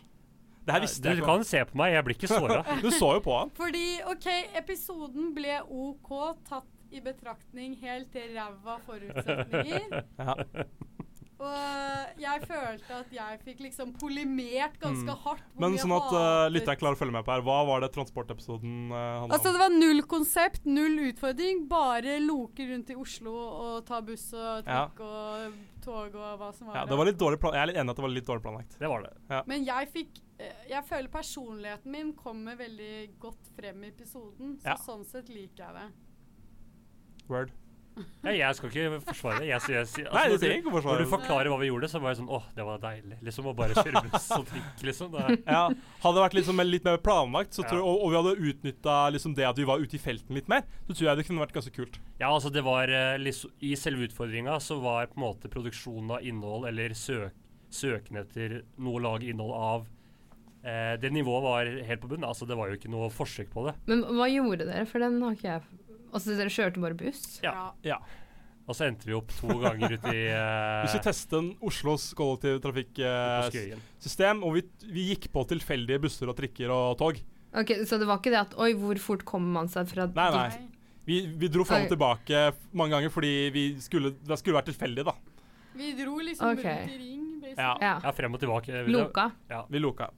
S2: Det her visste jeg
S4: du
S2: ikke.
S4: kan se på meg, jeg blir ikke såra.
S2: Du så jo på han.
S3: Fordi, OK, episoden ble OK tatt i betraktning helt til ræva forutsetninger.
S2: Ja.
S3: Og jeg følte at jeg fikk liksom polimert ganske
S2: Mm.
S3: hardt. hvor
S2: Men
S3: mye
S2: sånn at uh,
S3: hatet-
S2: lytteren klarer å følge med på her, hva var det transportepisoden uh, handla
S3: Altså,
S2: om?
S3: det var null konsept, null utfordring. Bare loke rundt i Oslo og ta buss og
S2: Ja.
S3: trikk og tog og hva som var
S2: Ja, det var litt dårlig plan jeg er litt enig i at det var litt dårlig planlagt.
S4: Det var det.
S3: Men jeg fikk eh, Jeg føler personligheten min kommer veldig godt frem i episoden, så
S2: Ja.
S3: sånn sett liker jeg det.
S2: Word.
S4: Ja, jeg skal ikke forsvare det. Jeg, sier- jeg, sier- altså,
S2: Nei,
S4: når
S2: det trenger
S4: du-
S2: jeg ikke å
S4: Når
S2: forsvare.
S4: du forklarer hva vi gjorde, så var jeg sånn åh, det var deilig. Liksom å bare kjøre buss og trikk, liksom. Det,
S2: Ja, hadde det vært liksom litt mer planlagt, så
S4: Ja.
S2: tror, og, og vi hadde utnytta liksom det at vi var ute i felten litt mer, så tror jeg det kunne vært ganske kult.
S4: ja, altså det var eh, liksom I selve utfordringa så var på en måte produksjonen av innhold, eller søk, søken etter noe å lage innhold av eh, Det nivået var helt på bunnen. Altså det var jo ikke noe forsøk på det.
S5: Men hva gjorde dere? For den har ikke jeg Altså, dere kjørte bare buss?
S4: Ja. Og så endte vi opp to ganger ute i
S2: Vi
S4: eh,
S2: skulle teste en Oslos
S4: på Skøyen.
S2: kollektivtrafikksystem, og vi, vi gikk på tilfeldige busser og trikker og tog.
S5: Ok, Så det var ikke det at Oi, hvor fort kommer man seg fra
S2: Nei, nei.
S5: dit?
S2: Vi, vi dro fram og
S5: Oi.
S2: tilbake f- mange ganger fordi vi skulle, det skulle vært tilfeldig, da.
S3: Vi dro liksom
S5: Ok.
S3: rundt i ring.
S2: Ja.
S3: basically.
S5: Ja.
S4: Ja, frem og tilbake. Jeg, jeg,
S5: Loka.
S2: Vi loka.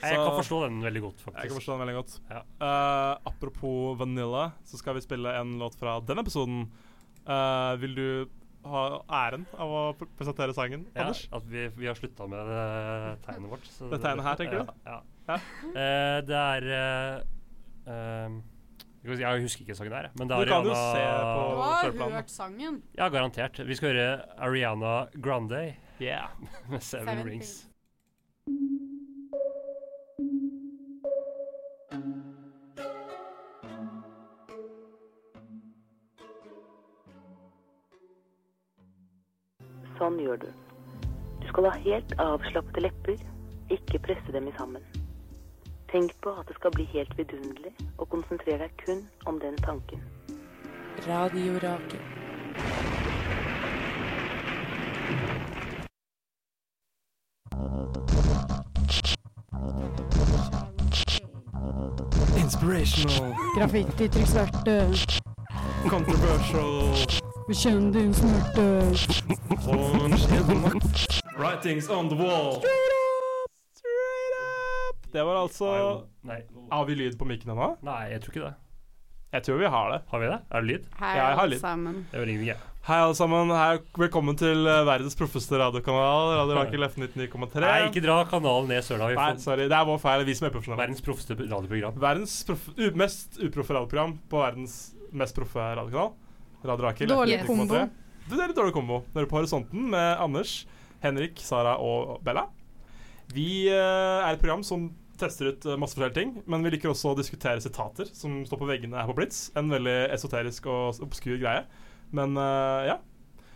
S4: kan
S2: Så-
S4: forstå den veldig godt,
S2: Jeg kan
S4: faktisk.
S2: forstå den veldig godt.
S4: Ja.
S2: Eh, apropos Vanilla, så skal vi spille en låt fra den episoden. Eh, vil du ha æren av å pr- presentere sangen,
S4: Ja,
S2: Anders?
S4: at vi, vi har slutta med det tegnet vårt. så
S2: Det tegnet her, tenker du?
S4: Ja. ja. Eh, det er eh, ehm, skal vi si- Jeg husker ikke sangen her, jeg, men det er
S2: Du kan jo
S4: Ariana-
S2: se
S3: Du
S2: på-
S3: har
S2: Kjøreplanen, da.
S3: hørt sangen.
S4: Ja, garantert. Vi skal høre Ariana Grande
S2: Yeah.
S4: med Seven,
S3: Seven
S4: Rings.
S3: Rings.
S7: Sånn gjør du. Du skal ha helt avslappede lepper, ikke presse dem i sammen. Tenk på at det skal bli helt vidunderlig, og konsentrer deg kun om den tanken.
S6: Radio Rakel.
S2: Inspirational.
S3: Graffiti, trykksverte,
S2: Controversial.
S3: bekjenn din smerte.
S2: Writings on the wall. Det var altså
S4: Nei.
S2: Har vi lyd på mikken ennå?
S4: Nei, jeg tror ikke det.
S2: Jeg tror vi har det.
S4: Har vi det? Er det lyd?
S3: Hei,
S2: Ja, jeg har
S3: alle
S2: litt.
S3: sammen.
S4: Det var ingenting, jeg.
S2: Hei, alle sammen. Hei, velkommen til eh, verdens proffeste radiokanal. Radio Rakel F99,3.
S4: Nei, ikke dra kanalen ned søla. Vi
S2: Nei,
S4: får
S2: sorry. Det er vår feil. Vi som er profesjonelle.
S4: verdens proffeste radioprogram.
S2: Verdens proff- u mest uproffe radioprogram på verdens mest proffe radiokanal. Radio Rakel.
S3: Dårlig
S2: F99,3.
S3: kombo.
S2: Du, det er litt dårlig kombo. Dere er på Horisonten med Anders, Henrik, Sara og Bella. Vi eh, er et program som tester ut eh, masse forskjellige ting, men vi liker også å diskutere sitater som står på veggene her på Blitz. En veldig esoterisk og s- obskur greie. Men eh, ja.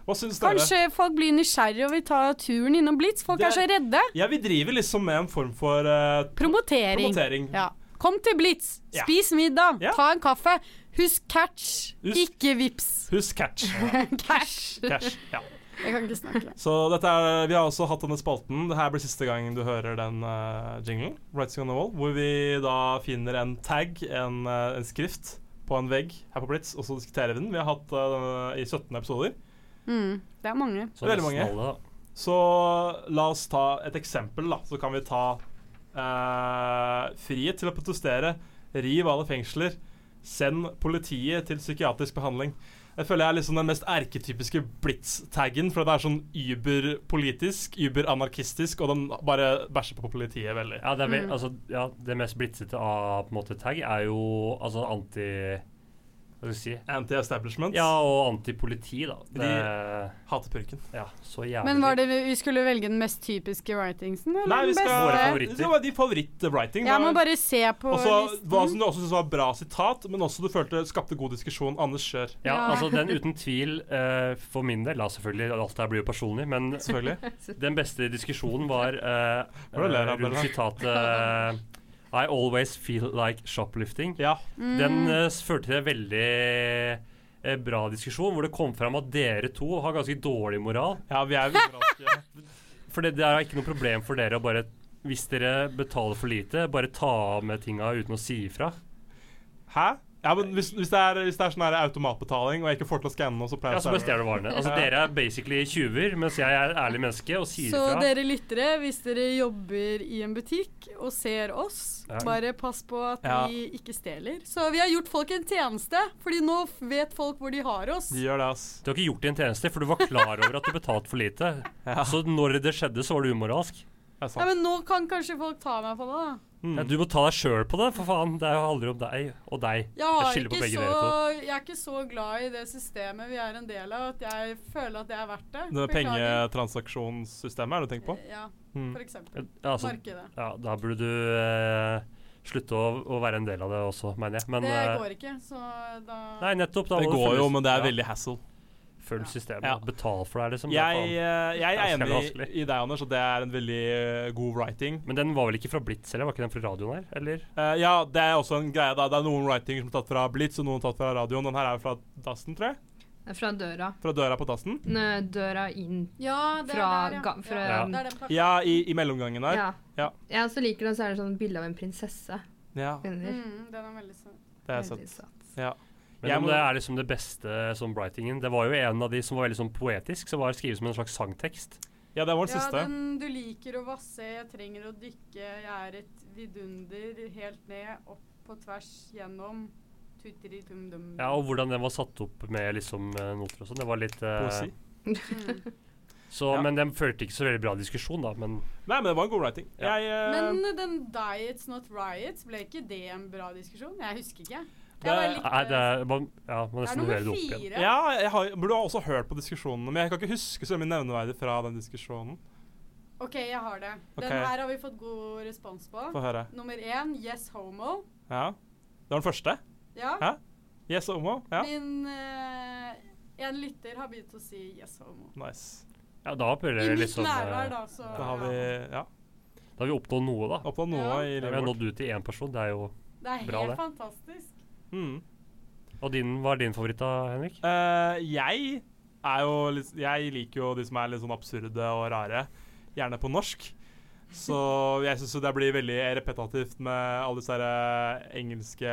S2: Hva syns dere?
S3: Kanskje folk blir nysgjerrige og vil ta turen innom Blitz. Folk
S2: Det
S3: er så redde.
S2: Ja, vi driver liksom med en form for eh,
S3: Promotering.
S2: promotering.
S3: Ja. Kom til Blitz.
S2: Ja.
S3: Spis middag.
S2: Ja.
S3: Ta en kaffe. Husk catch,
S2: Husk-
S3: ikke vips.
S2: Husk catch.
S3: Cash.
S2: Cash. Ja.
S3: Jeg kan ikke snakke.
S2: Så dette er, vi har også hatt denne spalten. Dette blir siste gang du hører den eh, jinglen, Writing on the Wall, hvor vi da finner en tag, en, eh, en skrift, på en vegg her på Blitz, og så diskuterer vi den. Vi har hatt eh, denne i 17 episoder.
S3: Mm, det er mange.
S4: Så
S2: Veldig
S4: nesten
S2: mange.
S4: Alle, da.
S2: Så la oss ta et eksempel, da. Så kan vi ta eh, frihet til å protestere, riv alle fengsler, send politiet til psykiatrisk behandling. Jeg føler jeg er liksom den mest erketypiske blitz-taggen, for det er sånn überpolitisk, überanarkistisk, og den bare bæsjer på politiet veldig.
S4: Ja, det, er, vel-
S3: Mm.
S4: altså, ja, det mest blitzete av på en måte tag er jo altså anti Hva skal jeg si?
S2: Anti-establishment.
S4: Ja, og antipoliti, da. Det,
S2: Hater purken.
S4: ja, så jævlig.
S3: Men var det vi vi skulle velge den mest typiske writingsen? Eller
S2: Nei, vi
S3: den
S2: skal
S4: Våre
S3: beste?
S4: favoritter.
S2: Det var de favoritt-writing.
S3: Jeg må bare se på
S2: Og så hva som
S3: listen.
S2: du også syntes var bra sitat, men også du følte skapte god diskusjon. Anders, kjør.
S4: Ja,
S3: Ja.
S4: altså den uten tvil eh, for min del, da selvfølgelig, alt det her blir jo personlig, men
S2: Selvfølgelig.
S4: den beste diskusjonen var eh,
S2: Hva er det du ler av,
S4: rundt
S2: Bella?
S4: sitatet eh, I always feel like shoplifting.
S2: Ja.
S3: Mm.
S4: Den eh, førte til en veldig eh, bra diskusjon, hvor det kom fram at dere to har ganske dårlig moral.
S2: ja, vi er umoralske.
S4: For det, det er ikke noe problem for dere å bare hvis dere betaler for lite, bare ta av med tinga uten å si ifra.
S2: Hæ? Ja, men hvis, hvis, det er, hvis det er sånn her automatbetaling, og jeg ikke får til å skanne noe, så pleier
S4: Ja,
S2: jeg
S4: så
S2: å
S4: bare
S2: stjele.
S4: stjeler du varene. Altså,
S2: Ja.
S4: dere er basically tjuver, mens jeg er ærlig menneske og sier
S3: Så
S4: ifra.
S3: dere lyttere, hvis dere jobber i en butikk og ser oss,
S4: Ja.
S3: bare pass på at
S2: Ja.
S3: vi ikke stjeler. Så vi har gjort folk en tjeneste, fordi nå f- vet folk hvor de har oss.
S2: De gjør det, ass.
S4: Du har ikke gjort det en tjeneste, for du var klar over at du betalte for lite.
S2: Ja.
S4: Så når det skjedde, så var du umoralsk.
S2: Det er
S3: Ja,
S2: sant.
S3: men nå kan kanskje folk ta meg på det, da.
S2: Mm.
S4: Ja, du må ta deg sjøl på det, for faen. Det handler om deg og deg.
S3: Jeg,
S4: Jeg
S3: har
S4: skylder på
S3: ikke
S4: begge
S3: så,
S4: dere to.
S3: jeg er ikke så glad i det systemet vi er en del av, at jeg føler at det er verdt det.
S2: Det
S3: Beklager.
S2: pengetransaksjonssystemet er det du tenker på?
S3: Ja,
S2: Mm.
S3: for eksempel.
S4: Hmm. Ja, altså,
S3: Markedet.
S4: ja, da burde du eh, slutte å, å være en del av det også, mener jeg. Men
S3: Det
S4: eh,
S3: går ikke, så da
S4: Nei, nettopp. Da
S2: Det
S4: må du
S2: går
S4: følge-
S2: jo, men det er
S4: ja,
S2: veldig hassle.
S4: Følg systemet.
S2: Ja.
S4: Betal for deg, liksom. Det er
S2: Jeg,
S4: faen.
S2: eh, jeg er
S4: Det er
S2: enig
S4: vanskelig.
S2: i deg, Anders, at det er en veldig eh, god writing.
S4: Men den var vel ikke fra Blitz heller? Var ikke den fra radioen her? Eller?
S2: Eh, ja, det er også en greie, da. Det er noen writing som er tatt fra Blitz, og noen tatt fra radioen. Den her er jo fra dassen, tror jeg.
S5: Det er Fra døra.
S2: Fra døra på dassen.
S5: Nø, døra inn.
S3: Ja, det
S5: Fra
S3: er der,
S5: ga- fra-
S3: ja. Det er den plassen.
S2: Ja, i, i mellomgangen der.
S5: Ja.
S2: Ja.
S5: Jeg også liker den, så er det sånn bilde av en prinsesse.
S2: Ja,
S5: Under.
S3: Mm, den er veldig søt.
S2: det er
S5: Veldig
S2: søtt.
S5: søt.
S2: Ja.
S4: Men
S2: Jeg
S4: om
S2: må-
S4: det er liksom det beste som writingen Det var jo en av de som var veldig sånn poetisk, som var skrevet som en slags sangtekst.
S2: ja, det var den
S3: Ja,
S2: siste.
S3: den du liker å vasse, jeg trenger å dykke, jeg er et vidunder, helt ned, opp på tvers, gjennom, tutteritumdum.
S4: Ja, Og hvordan den var satt opp med liksom eh, noter og sånn. Det var litt eh,
S2: Poesi.
S3: Mm.
S4: Så,
S2: Ja.
S4: Men den førte ikke så veldig bra diskusjon, da. Men
S2: Nei, men det var en god writing.
S4: Ja.
S2: Jeg, eh,
S3: Men den Diets Not Riots, ble ikke det en bra diskusjon? Jeg husker ikke.
S2: Det
S3: Jeg bare
S2: er-
S3: likte-
S4: nei, det er, man, ja, man
S3: det er
S4: nesten hører
S3: nummer
S4: det opp igjen.
S3: fire.
S2: Ja, jeg har, burde ha også hørt på diskusjonene, men jeg kan ikke huske så mye nevneverdig fra den diskusjonen.
S3: OK, jeg har det. Den
S2: Ok.
S3: her har vi fått god respons på.
S2: Få høre.
S3: Nummer én, Yes Homo.
S2: Ja. Det var den første.
S3: Ja.
S2: Ja. Yes, Omo. Ja.
S3: Min eh, En lytter har begynt å si Yes Homo.
S2: Nice.
S4: Ja, da bør
S3: I
S4: det
S3: mitt
S4: liksom
S3: nærvær,
S4: eh,
S3: da, så
S2: sånn, Da har vi ja,
S4: Da har vi oppnådd noe, da.
S2: oppnådd noe
S3: Ja.
S2: i
S4: Ja, vi har
S2: livet vårt.
S4: nådd ut til én person. Det er jo
S3: Det er helt
S4: Bra, det.
S3: fantastisk.
S2: Mm.
S4: Og din, hva er din favoritt, da, Henrik?
S2: Eh, jeg er jo litt Jeg liker jo de som er litt sånn absurde og rare. Gjerne på norsk. Så jeg syns det blir veldig repetativt med alle disse her eh, engelske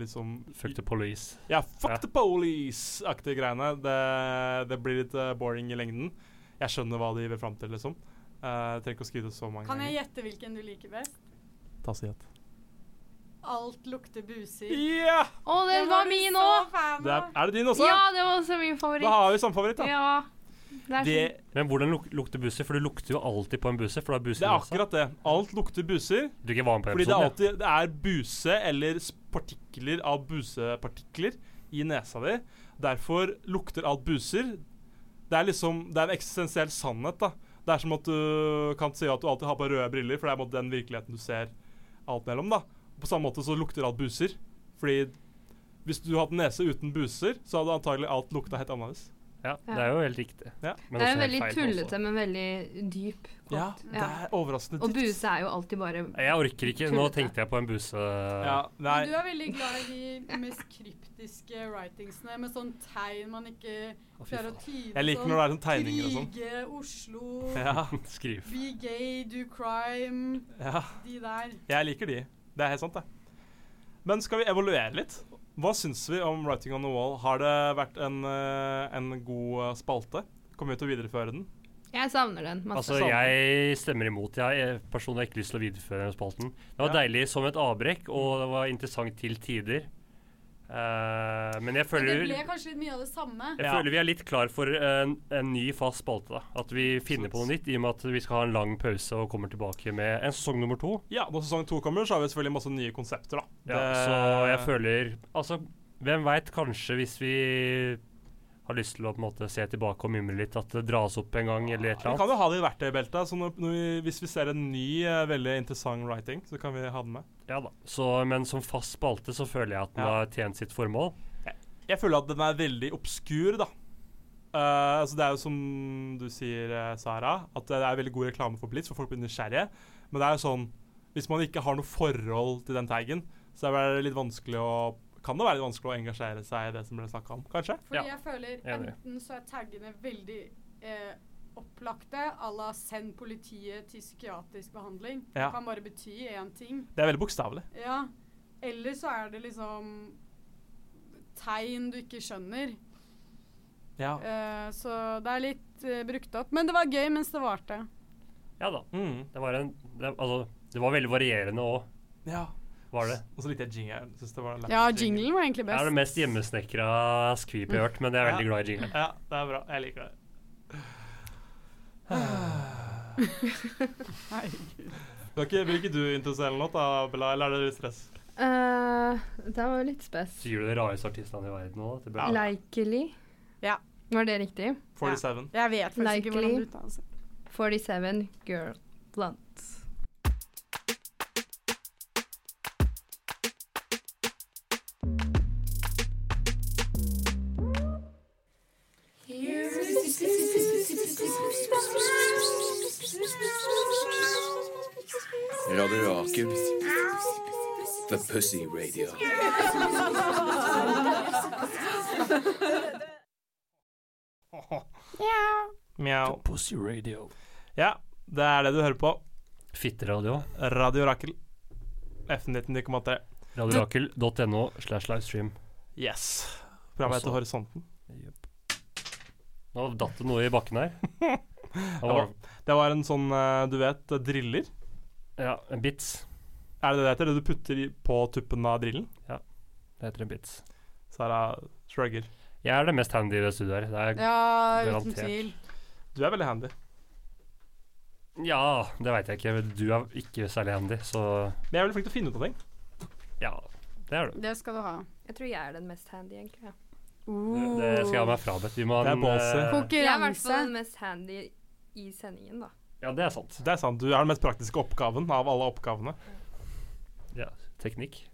S2: liksom
S4: Fuck the police.
S2: Ja, fuck
S4: Ja.
S2: the police-aktige greiene. Det, det blir litt eh, boring i lengden. Jeg skjønner hva de vil fram til, liksom. Eh, trenger ikke å skrive det så mange
S3: Kan jeg
S2: ganger.
S3: gjette hvilken du liker best?
S2: Ta si et.
S3: Alt lukter buser.
S2: Ja!
S5: Å, den var min òg!
S2: Det er, er det din også?
S5: Ja, det var også min favoritt.
S2: Da har vi samme favoritt, da.
S5: Ja. Det er
S2: Det,
S5: sånn.
S4: Men hvordan luk lukter busser? For du lukter jo alltid på en buse. For du har buser
S2: det er
S4: i nesa.
S2: akkurat det. Alt lukter buser.
S4: Du er ikke var med på
S2: Fordi det
S4: episoden,
S2: er
S4: ja.
S2: alltid det er buse eller s- partikler av busepartikler i nesa di. Derfor lukter alt buser. Det er liksom Det er en eksistensiell sannhet, da. Det er som at du kan si at du alltid har på røde briller, for det er på en måte den virkeligheten du ser alt mellom, da. På samme måte så lukter alt buser. Fordi hvis du hadde nese uten buser, så hadde antagelig alt lukta helt annerledes.
S4: ja. Det er jo helt riktig.
S2: Ja.
S4: Men også
S5: Det er
S4: helt
S5: en veldig
S4: feil
S5: tullete,
S4: også.
S5: men veldig dyp.
S2: Ja,
S5: quote.
S2: det er overraskende
S5: Og
S2: dypt.
S5: buse er jo alltid bare
S4: Jeg orker ikke. Nå
S5: Tullete.
S4: tenkte jeg på en buse.
S2: Ja, nei.
S3: Men Du er veldig glad i de mest kryptiske writingsene med sånn tegn man ikke
S2: Å, fy
S3: klarer å
S2: faen.
S3: tyde.
S2: Jeg liker når det er sånn tegninger og sånn.
S3: Krige, Oslo,
S2: Ja,
S4: Skriv.
S3: be gay, do crime,
S2: ja.
S3: de der.
S2: Jeg liker de. Det er helt sant, det. Men skal vi evaluere litt? Hva syns vi om Writing on the Wall? Har det vært en, eh, en god eh, spalte? Kommer vi til å videreføre den?
S5: Jeg savner den masse.
S4: Altså, jeg stemmer imot. Jeg eh, personlig har ikke lyst til å videreføre den spalten. Det var
S2: Ja. Mm.
S4: deilig som et avbrekk, og det var interessant til tider. Eh, men jeg
S3: Men det
S4: føler,
S3: ble kanskje litt mye av det samme.
S4: jeg
S2: Ja.
S4: føler vi er litt klar for en, en ny fast spalte. da. At vi finner på noe nytt, i og med at vi skal ha en lang pause og kommer tilbake med en sesong nummer to.
S2: Ja, når sesong to kommer, så har vi selvfølgelig masse nye konsepter, da.
S4: Ja,
S2: Det-
S4: så jeg føler Altså, hvem veit, kanskje hvis vi har lyst til å på en måte se tilbake og mimre litt, at det dras opp en gang eller et
S2: Vi
S4: eller
S2: kan
S4: annet.
S2: jo ha det i verktøybeltet, så når, når vi, hvis vi ser en ny, eh, veldig interessant writing, så kan vi ha den med.
S4: Ja da. Så, men som fast spalte så føler jeg at den
S2: Ja.
S4: har tjent sitt formål.
S2: Jeg føler at den er veldig obskur, da. Eh, altså det er jo som du sier, eh, Sara, at det er veldig god reklame for Blitz, for folk blir nysgjerrige. Men det er jo sånn Hvis man ikke har noe forhold til den taggen, så er det litt vanskelig å Kan det være litt vanskelig å engasjere seg i det som ble snakka om, kanskje?
S3: Fordi
S4: Ja.
S3: jeg føler
S4: Enig.
S3: enten så er taggene veldig eh, opplagte, à la 'send politiet til psykiatrisk behandling'.
S2: Ja.
S3: Det kan bare bety én ting.
S2: Det er veldig bokstavelig.
S3: Ja. Eller så er det liksom tegn du ikke skjønner.
S2: Ja.
S3: Eh, så det er litt eh, brukt opp. Men det var gøy mens det varte.
S4: Ja da.
S2: Mm,
S4: Det var, en, det, altså, det var veldig varierende òg,
S2: ja.
S4: var det.
S2: Og så likte jeg jingeren. Synes det var en
S3: Ja,
S2: lættis jingle.
S3: jinglen var egentlig
S4: Det er det mest
S3: best.
S4: hjemmesnekra skvip jeg har hørt, men jeg er veldig glad i jingelen.
S2: Ja, det er bra. Jeg liker det. Kan ikke, vil ikke du introdusere en låt, da, Bella? Eller er det litt stress?
S5: Eh, Den var jo litt spes.
S4: Så gir du de rareste artistene i verden òg, til
S2: Ja.
S4: Bella.
S5: Likely.
S3: Ja.
S5: Var det riktig?
S2: 47.
S3: Jeg vet faktisk
S5: Likely.
S3: ikke hvordan det uttales.
S5: 47 Girl Blunt.
S8: Radio Rakel. The Pussy Radio.
S2: Mjau.
S4: Pussy Radio.
S2: Ja, det er det du hører på.
S4: Fitteradio.
S2: Radio Rakel. FN19,3.
S4: Radiorakel.no slash livestream.
S2: Yes. Programmet
S4: Også-
S2: heter Horisonten.
S4: Nå datt det noe i bakken her. Det var,
S2: var- Det var en sånn, eh, du vet, eh, driller.
S4: ja, en bits.
S2: Er det det det heter? Det du putter i- på tuppen av drillen?
S4: Det heter en bits.
S2: Sara shrugger.
S4: Jeg er det mest handy i det studioet her. Det er,
S3: Ja, uten
S4: Garantert.
S3: tvil.
S2: Du er veldig handy.
S4: ja, det veit jeg ikke. Du er ikke særlig handy, så
S2: Men jeg er veldig flink til å finne ut av ting.
S4: ja. Det er du.
S3: Det skal du ha.
S5: Jeg tror jeg er den mest handy, egentlig. Ja.
S4: Det det skal jeg ha meg frabedt. Vi må ha
S2: Det er
S4: en,
S2: ballsy.
S4: eh,
S5: Jeg er i hvert
S3: Uh. Konkurranse.
S5: fall den mest handy i sendingen, da.
S4: Ja, det er sant.
S2: Det er sant. Du er den mest praktiske oppgaven av alle oppgavene.
S4: Ja, teknikk.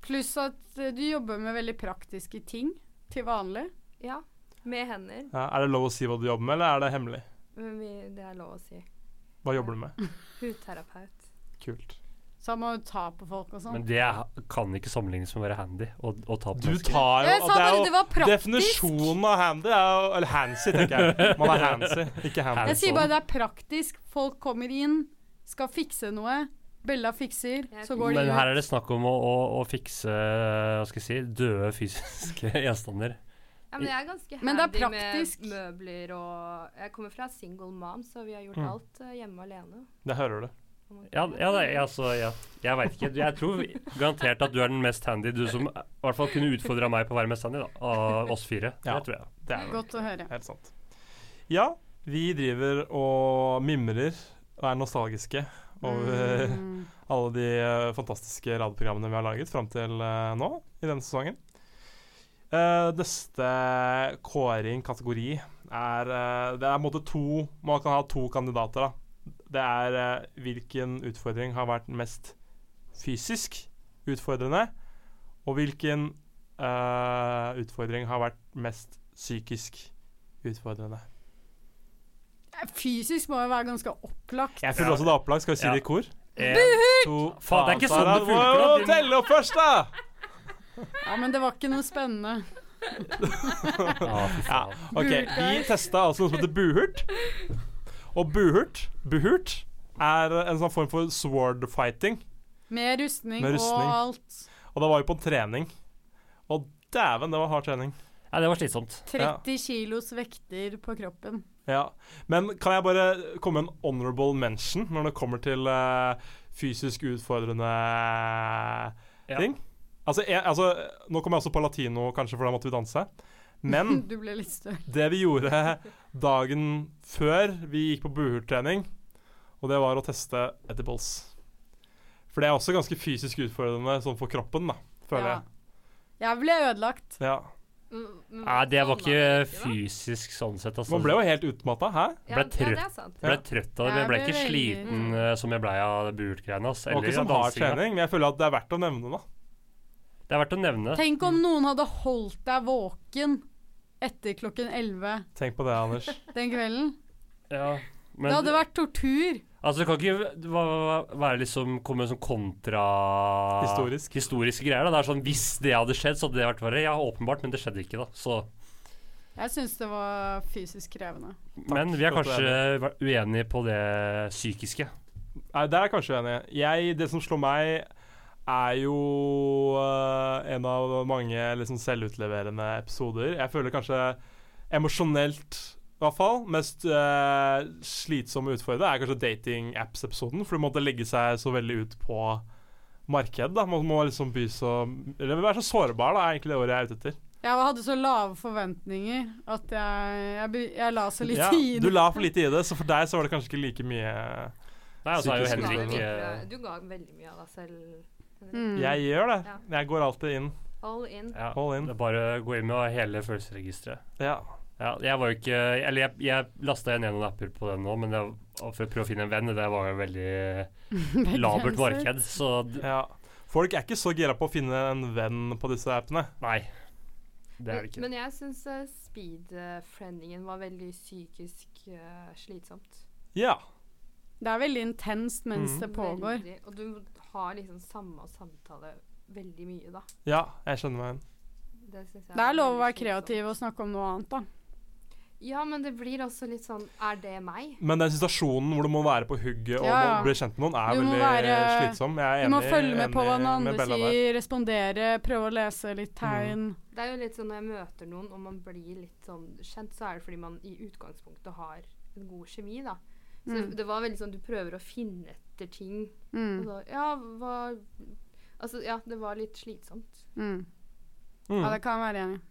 S3: Pluss at eh, du jobber med veldig praktiske ting til vanlig.
S5: Ja. Med hender.
S2: Ja, er det lov å si hva du jobber med, eller er det hemmelig?
S5: Men vi, det er lov å si.
S2: Hva jobber du med?
S5: Hudterapeut.
S2: Kult.
S3: Så han må jo ta på folk og sånn.
S4: Men det er- kan ikke sammenlignes med å være handy og, og ta på
S2: Du
S4: mennesker.
S2: tar jo
S3: Jeg sa
S2: det er
S3: bare
S2: jo-
S3: det var praktisk.
S2: Definisjonen av handy er jo Eller handsy, tenker jeg. Man er handsy, ikke handy.
S3: Jeg sier
S4: sånn?
S3: bare det er praktisk. Folk kommer inn, skal fikse noe. Bella fikser,
S5: Jeg-
S3: så går de
S4: Men her
S3: ut.
S4: er det snakk om å, å, å fikse hva skal jeg si, døde fysiske gjenstander.
S5: Ja, men jeg er ganske
S3: Men det er
S5: handy
S3: praktisk.
S5: med møbler og Jeg kommer fra single mom, så vi har gjort
S2: Mm.
S5: alt eh, hjemme alene.
S2: Det hører du.
S4: Ja, ja, nei, altså, ja. Jeg veit ikke. Jeg tror garantert at du er den mest handy. Du som i hvert fall kunne utfordra meg på å være mest handy, da. Av oss fire.
S2: Ja.
S4: Det tror jeg.
S2: Det er
S3: Godt å høre.
S2: Helt sant. Ja, vi driver og mimrer og er nostalgiske over
S3: Mm.
S2: alle de eh, fantastiske radioprogrammene vi har laget fram til eh, nå i denne sesongen. Eh, neste kåring, kategori, er eh, Det er på en måte to Man kan ha to kandidater, da. Det er eh, hvilken utfordring har vært mest fysisk utfordrende, og hvilken eh, utfordring har vært mest psykisk utfordrende.
S3: Fysisk må jo være ganske opplagt.
S2: Jeg føler
S4: Ja.
S2: også det er opplagt. Skal vi si
S4: Ja.
S2: det i kor?
S4: En,
S2: To,
S4: Faen, det er ikke sånn
S2: Sara,
S4: det
S2: du må
S4: funker, da.
S2: jo Telle opp først, da!
S3: Ja, Men det var ikke noe spennende.
S4: ah, fy faen.
S2: Ok, Vi testa altså noe som heter buhurt. Og buhurt, buhurt er en sånn form for sword fighting.
S3: Med rustning,
S2: Med rustning.
S3: og alt.
S2: Og da var vi på en trening. Og dæven, det var hard trening.
S4: Ja, det var slitsomt.
S3: 30 kilos vekter på kroppen.
S2: Ja. Men kan jeg bare komme med en honorable mention når det kommer til eh, fysisk utfordrende
S4: Ja.
S2: ting? Altså, jeg, altså, nå kom jeg også på latino, kanskje, for da måtte vi danse. Men
S4: Mm.
S3: Du ble litt større.
S2: Det vi gjorde dagen før vi gikk på buhurtrening, og det var å teste edibles. For det er også ganske fysisk utfordrende sånn for kroppen, da, føler
S3: Ja. Jeg ble ødelagt.
S2: jeg. Ja.
S4: Nei, det var ikke fysisk sånn sett, altså.
S2: Man ble jo helt utmatta, hæ?
S4: ble trøtt.
S5: Ja, det er sant.
S4: Ble trøtt av det, men jeg ble
S3: Ja, det
S4: ikke
S3: er veldig-
S4: sliten eh, som jeg blei av burt-greiene. ass.
S2: Det var
S4: Eller
S2: ikke
S4: av
S2: sånn hard
S4: dansinga.
S2: trening, men jeg føler at det er verdt å nevne, da.
S4: Det er verdt å nevne.
S3: Tenk om noen hadde holdt deg våken etter klokken 11
S2: Tenk på det, Anders.
S3: den kvelden.
S4: Ja, men
S3: Det hadde vært tortur.
S4: Altså, det kan ikke v- va- va- være liksom komme med sånn kontra
S2: Historisk.
S4: historiske greier. da. Det er sånn, Hvis det hadde skjedd, så hadde det vært verre. Ja, åpenbart, men det skjedde ikke, da. Så,
S3: Jeg syns det var fysisk krevende.
S4: men vi er
S2: for at du er
S4: kanskje vært uenige på det psykiske.
S2: Nei, der er jeg kanskje uenig. Jeg, det som slår meg, er jo eh, en av mange liksom, selvutleverende episoder. Jeg føler kanskje emosjonelt, i hvert fall, mest eh, slitsomme utfordrende er kanskje dating apps-episoden. For du måtte legge seg så veldig ut på markedet. Da. Man må liksom by så Eller være så sårbar, da, er egentlig det ordet jeg er ute etter.
S3: Jeg hadde så lave forventninger at jeg, jeg, be- jeg la så litt
S2: Ja,
S3: tid.
S2: du la for lite i det, så for deg så var det kanskje ikke like mye
S4: Nei, altså, er jo eh,
S2: Psykisk
S4: heller
S2: utfordrende.
S4: ikke
S5: Du ga veldig mye av deg selv.
S3: Mm.
S2: Jeg gjør det.
S5: Ja.
S2: Jeg går alltid inn.
S5: All in.
S4: ja,
S2: All in.
S4: Det er bare å gå inn med hele følelsesregisteret.
S2: Ja.
S4: Ja, jeg var jo ikke Eller jeg, jeg lasta igjen ned noen apper på den nå, men det, for å prøve å finne en venn. Det var jo veldig labert marked, så d-
S2: Ja. Folk er ikke så gira på å finne en venn på disse appene.
S4: nei. Det er det ikke.
S5: Men jeg syns eh, speed-friendingen var veldig psykisk eh, slitsomt.
S2: Ja.
S3: Det er veldig intenst mens
S2: Mm.
S3: det pågår.
S5: Veldig. Og du har liksom samme samtale veldig mye, da.
S2: Ja, jeg skjønner meg igjen.
S5: Det, synes jeg
S3: Det er lov å
S5: veldig
S3: være
S5: slitsomt.
S3: kreativ og snakke om noe annet, da.
S5: Ja, men det blir også litt sånn Er det meg?
S2: Men den situasjonen hvor du må være på hugget og
S3: Ja, ja.
S2: må bli kjent med noen, er
S3: Du må
S2: veldig
S3: være-
S2: slitsom. Jeg er
S3: Du må
S2: enig,
S3: følge med på hva
S2: enig
S3: den
S2: med
S3: andre
S2: Bella der. Mm.
S3: sier, respondere, prøve å lese litt tegn.
S5: Det er jo litt sånn når jeg møter noen og man blir litt sånn kjent, så er det fordi man i utgangspunktet har en god kjemi, da. Så
S3: Mm.
S5: det var veldig sånn du prøver å finne etter ting. Og
S3: Mm.
S5: da, ja, hva Altså, ja, det var litt slitsomt.
S3: Mm.
S2: Mm.
S3: Ja, det kan jeg være enig i.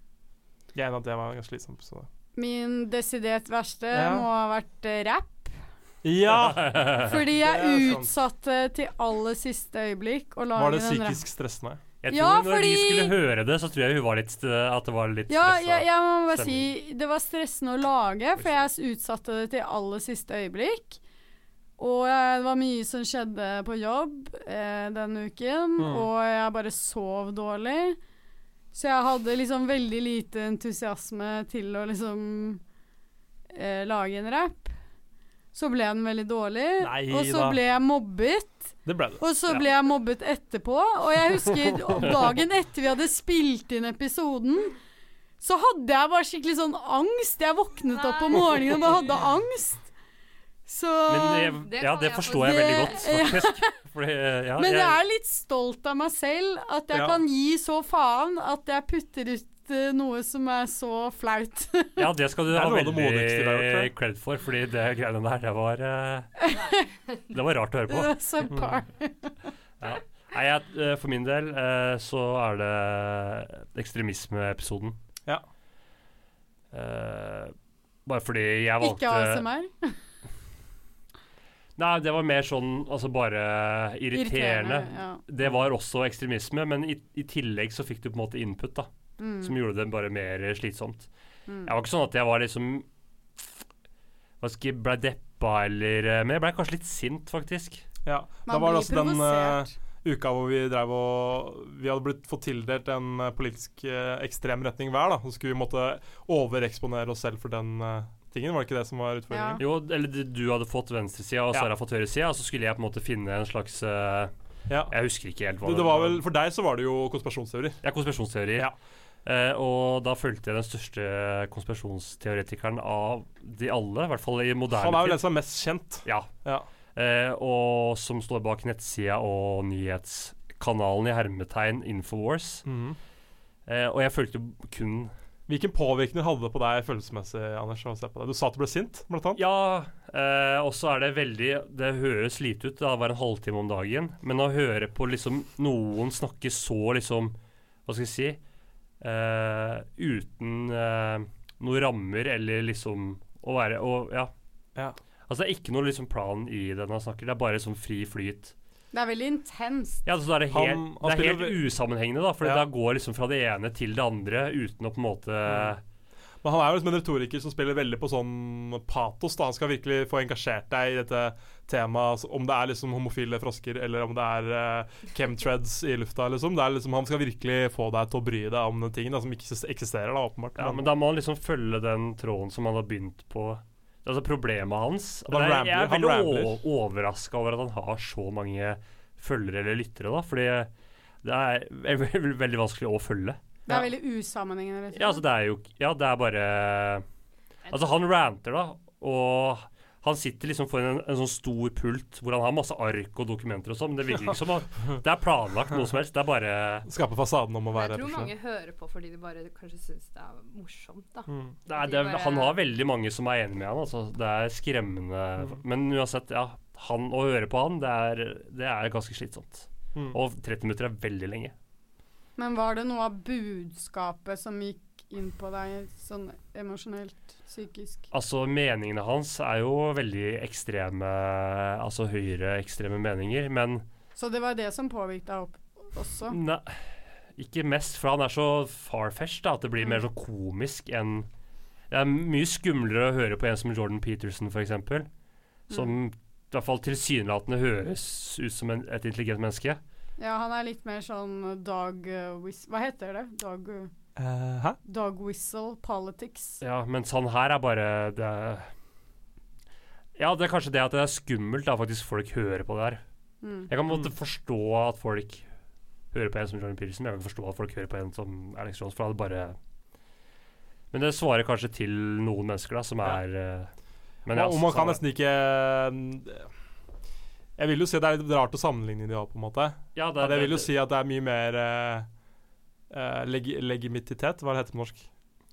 S2: Jeg er enig at det var ganske slitsomt. Så.
S3: Min desidert verste
S2: Ja.
S3: må ha vært eh, rap.
S2: Ja!
S3: Fordi jeg
S2: Det er sant.
S3: utsatte til aller siste øyeblikk å lage
S2: Var det
S3: den rappen.
S2: psykisk stressende?
S4: Jeg tror
S3: Ja,
S4: når
S3: fordi-
S4: vi skulle høre det, så tror jeg hun var litt st- At det var litt
S3: Ja,
S4: stressa.
S3: jeg, jeg må bare
S4: stemning.
S3: si det var stressende å lage, for jeg utsatte det til aller siste øyeblikk. Og eh, det var mye som skjedde på jobb eh, denne uken,
S2: Mm.
S3: og jeg bare sov dårlig. Så jeg hadde liksom veldig lite entusiasme til å liksom eh, lage en rap. Så ble den veldig dårlig,
S2: Nei
S3: og så
S2: da.
S3: ble jeg mobbet.
S2: Det ble det.
S3: Og så ble jeg mobbet etterpå, og jeg husker dagen etter vi hadde spilt inn episoden, så hadde jeg bare skikkelig sånn angst. Jeg våknet opp om morgenen og bare hadde angst. Så
S4: Men
S5: Det
S4: det, ja,
S5: kan
S4: det
S5: jeg
S4: forstår jeg veldig godt,
S3: Det-
S4: faktisk. Fordi, ja,
S3: Men jeg
S4: jeg,
S3: er litt stolt av meg selv at jeg
S2: Ja.
S3: kan gi så faen at jeg putter ut sagt eh, noe som er så flaut.
S4: Ja, det skal du
S2: Det
S4: ha
S2: er noe av det modigste du har gjort, tror
S4: veldig
S2: jeg.
S4: cred for, fordi det greiene der, det var eh, Det var rart å høre på.
S3: Det er subpar.
S4: Nei, jeg, eh, For min del eh, så er det ekstremismeepisoden.
S2: Ja.
S4: Eh, bare fordi jeg valgte
S3: Ikke ASMR.
S4: Nei, det var mer sånn altså bare irriterende.
S3: Ja.
S4: Det var også ekstremisme, men i, i tillegg så fikk du på en måte input, da.
S3: Mm.
S4: Som gjorde det bare mer eh, slitsomt.
S3: Mm.
S4: Jeg var ikke sånn at jeg var liksom Hva skal jeg Blei deppa eller eh, Men jeg blei kanskje litt sint, faktisk.
S2: Ja. Da
S3: Man
S2: var
S3: blir
S2: det altså den eh,
S3: provosert.
S2: uka hvor vi drev og Vi hadde blitt fått tildelt en eh, politisk eh, ekstrem retning hver, da. Så skulle vi måtte overeksponere oss selv for den eh, tingen. Var det ikke det som var utfordringen?
S4: Jo, eller du- du hadde fått venstresida, og
S2: Ja.
S4: Sara fått høyresida, og så skulle jeg på en måte finne en slags eh,
S2: Ja.
S4: Jeg husker ikke helt hva
S2: Det, det var vel, for deg så var det jo konspirasjonsteori.
S4: Ja, konspirasjonsteorier.
S2: Ja.
S4: Eh, og da fulgte jeg den største konspirasjonsteoretikeren av de alle, i hvert fall i moderne
S2: Han er vel
S4: tid.
S2: den som er mest kjent.
S4: Ja.
S2: Ja.
S4: Eh, og som står bak nettsida og nyhetskanalen i hermetegn Infowars.
S2: Mm.
S4: Eh, og jeg fulgte kun
S2: Hvilken påvirkning hadde det på deg følelsesmessig, Anders? å se på det? Du sa at du ble sint, blant annet.
S4: Ja, eh, og så er det veldig Det høres lite ut, det er bare en halvtime om dagen. Men å høre på liksom noen snakke så liksom Hva skal jeg si eh, Uten eh, noen rammer eller liksom Å være og, ja.
S2: Ja.
S4: Altså det er ikke noe liksom plan i det når han snakker, det er bare liksom fri flyt.
S3: Det er veldig intenst.
S4: Ja, altså, da er det helt,
S2: Han- han
S4: det er
S2: spiller
S4: helt usammenhengende, da. For
S2: Ja.
S4: da går liksom fra det ene til det andre uten å på en måte
S2: Mm. Men han er jo liksom en retoriker som spiller veldig på sånn patos. da Han skal virkelig få engasjert deg i dette temaet, altså, om det er liksom homofile frosker eller om det er eh, chemtreads i lufta. liksom Det er liksom Han skal virkelig få deg til å bry deg om den tingen da, som ikke s- eksisterer, da, åpenbart.
S4: Ja, men da må han liksom følge den tråden som han har begynt på. Altså problemet hans.
S2: Han
S4: Det er-
S2: rambler,
S4: jeg er
S2: han
S4: veldig overraska over at han har så mange følgere eller lyttere, da. Fordi det er ve- ve- ve- veldig vanskelig å følge.
S3: Det er veldig usammenhengende. rett og slett.
S4: Ja, altså det er jo Ja, det er bare Altså han ranter, da. Og han sitter liksom foran en, en sånn stor pult hvor han har masse ark og dokumenter og sånn. Men det virker ikke som han- Det er planlagt noe som helst. Det er bare
S2: Skape fasaden om å
S5: Jeg
S2: være
S5: tror
S2: profesjonell.
S5: mange hører på fordi de bare kanskje syns det er morsomt, da.
S4: Nei,
S5: De
S4: det er,
S5: bare-
S4: han har veldig mange som er enig med han. Altså. Det er skremmende.
S5: Mm.
S4: Men uansett, ja. Han, å høre på han, det er, det er ganske slitsomt.
S2: Mm.
S4: Og 30 minutter er veldig lenge.
S3: Men var det noe av budskapet som gikk inn på deg sånn emosjonelt, psykisk?
S4: Altså, meningene hans er jo veldig ekstreme, altså høyreekstreme meninger, men
S3: Så det var det som påvirket deg opp også?
S4: nei, ikke mest, for han er så farfetched da, at det
S5: Mm.
S4: blir mer så komisk enn Det er mye skumlere å høre på en som Jordan Peterson, f.eks., som
S5: Mm.
S4: i hvert fall tilsynelatende høres ut som en, et intelligent menneske.
S3: Ja, han er litt mer sånn dog uh, whis- Hva heter det? Dog, uh,
S2: Eh, hæ?
S3: dog whistle politics.
S4: Ja, mens han her er bare det er Ja, det er kanskje det at det er skummelt da faktisk folk hører på det her.
S3: Mm.
S4: Jeg kan på en måte forstå at folk hører på en som Jordan Peterson, men jeg kan ikke forstå at folk hører på en som Alex Jones, for det er bare Men det svarer kanskje til noen mennesker, da, som
S2: Ja.
S4: er eh, men
S2: Og- og man kan
S4: sa-
S2: nesten ikke eh, Jeg vil jo si at det er litt rart å sammenligne de òg, på en måte.
S4: ja, det,
S2: Ja,
S4: er-
S2: det vil jo si at det er mye mer eh, eh, leg legitimitet Hva er det heter på norsk?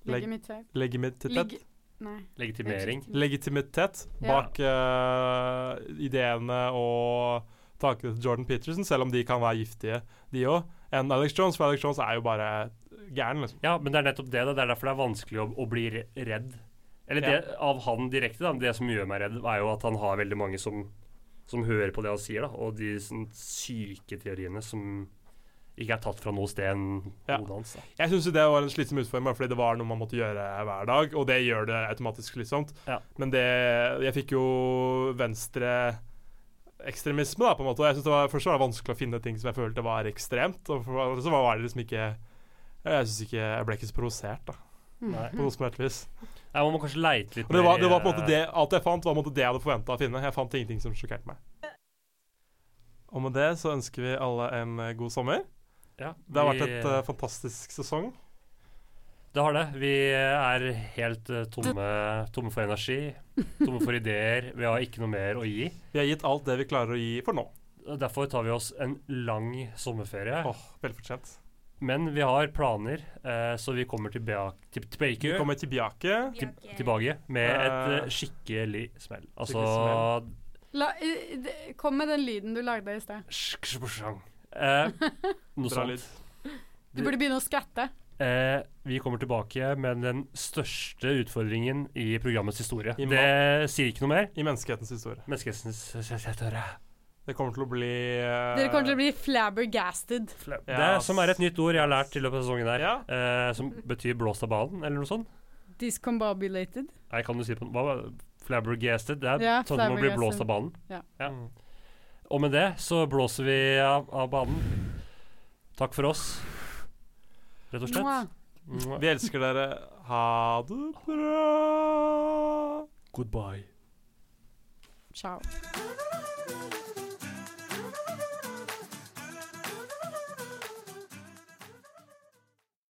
S2: Leg
S3: Legitimitet.
S2: legitimitet?
S3: Lig nei.
S4: legitimering.
S2: Legitimitet bak eh, ideene og tankene til Jordan Peterson, selv om de kan være giftige, de òg. Enn Alex Jones, for Alex Jones er jo bare gæren, liksom.
S4: Ja, men det er nettopp det. Da. Det er derfor det er vanskelig å, å bli re- redd. Eller det, av han direkte, da. Det som gjør meg redd, er jo at han har veldig mange som, som hører på det han sier, da. Og de sånn, syke teoriene som ikke er tatt fra noe sted enn
S2: Ja.
S4: hodet hans. Da.
S2: Jeg syns det var en slitsom utfordring, bare fordi det var noe man måtte gjøre hver dag, og det gjør det automatisk slitsomt.
S4: Ja.
S2: Men det Jeg fikk jo venstre ekstremisme, da, på en måte. Og jeg synes det var, Først var det vanskelig å finne ting som jeg følte var ekstremt, og for, så var det liksom ikke Jeg synes ikke Jeg ble ikke så provosert, da,
S4: Nei.
S2: på noe som helst vis.
S4: Nei, man må kanskje leite litt
S2: Og det var,
S4: mer,
S2: det var på en måte
S4: eh,
S2: det Alt jeg fant, var på en måte det jeg hadde forventa å finne. Jeg fant ingenting som sjokkerte meg. Og med det så ønsker vi alle en eh, god sommer.
S4: ja,
S2: Det har vært
S4: vi-
S2: et eh, fantastisk sesong.
S4: Det har det. Vi er helt eh, tomme, tomme for energi, tomme for ideer. Vi har ikke noe mer å gi.
S2: Vi har gitt alt det vi klarer å gi for nå.
S4: Derfor tar vi oss en lang sommerferie.
S2: Åh, Velfortjent.
S4: Men vi har planer, eh, så vi kommer tilbake, til,
S2: Vi
S4: tilbake,
S2: kommer tilbake.
S4: til- tilbake med et
S2: Eh,
S4: eh, skikkelig smell. Altså
S2: skikkelig
S3: La, eh, d- kom med den lyden du lagde i sted.
S4: sk-sk-sk-sjang. Eh, Noe
S2: Bra
S4: sånt.
S2: lyd.
S3: Du burde begynne å skatte.
S4: Eh, vi kommer tilbake med den største utfordringen i programmets historie.
S2: I
S4: det sier ikke noe mer.
S2: I menneskehetens historie.
S4: Menneskehetsens
S2: Det kommer til å bli eh,
S3: Dere kommer til å bli flabbergasted.
S4: Det er, som er et nytt ord jeg har lært i løpet av sesongen her,
S2: Ja.
S4: eh, som betyr blåst av banen, eller noe sånt.
S3: Discombobulated.
S4: Nei, kan du si det på hva, var det? Flabbergasted. Det er
S3: Ja,
S4: sånn at man blir
S3: flabbergasted.
S4: blåst av banen.
S3: Ja.
S4: Og med det så blåser vi av, av banen. Takk for oss, rett og
S3: Mwah.
S4: slett. Mwah.
S2: Vi elsker dere. Ha det bra. Goodbye.
S3: Ciao.
S8: Bye.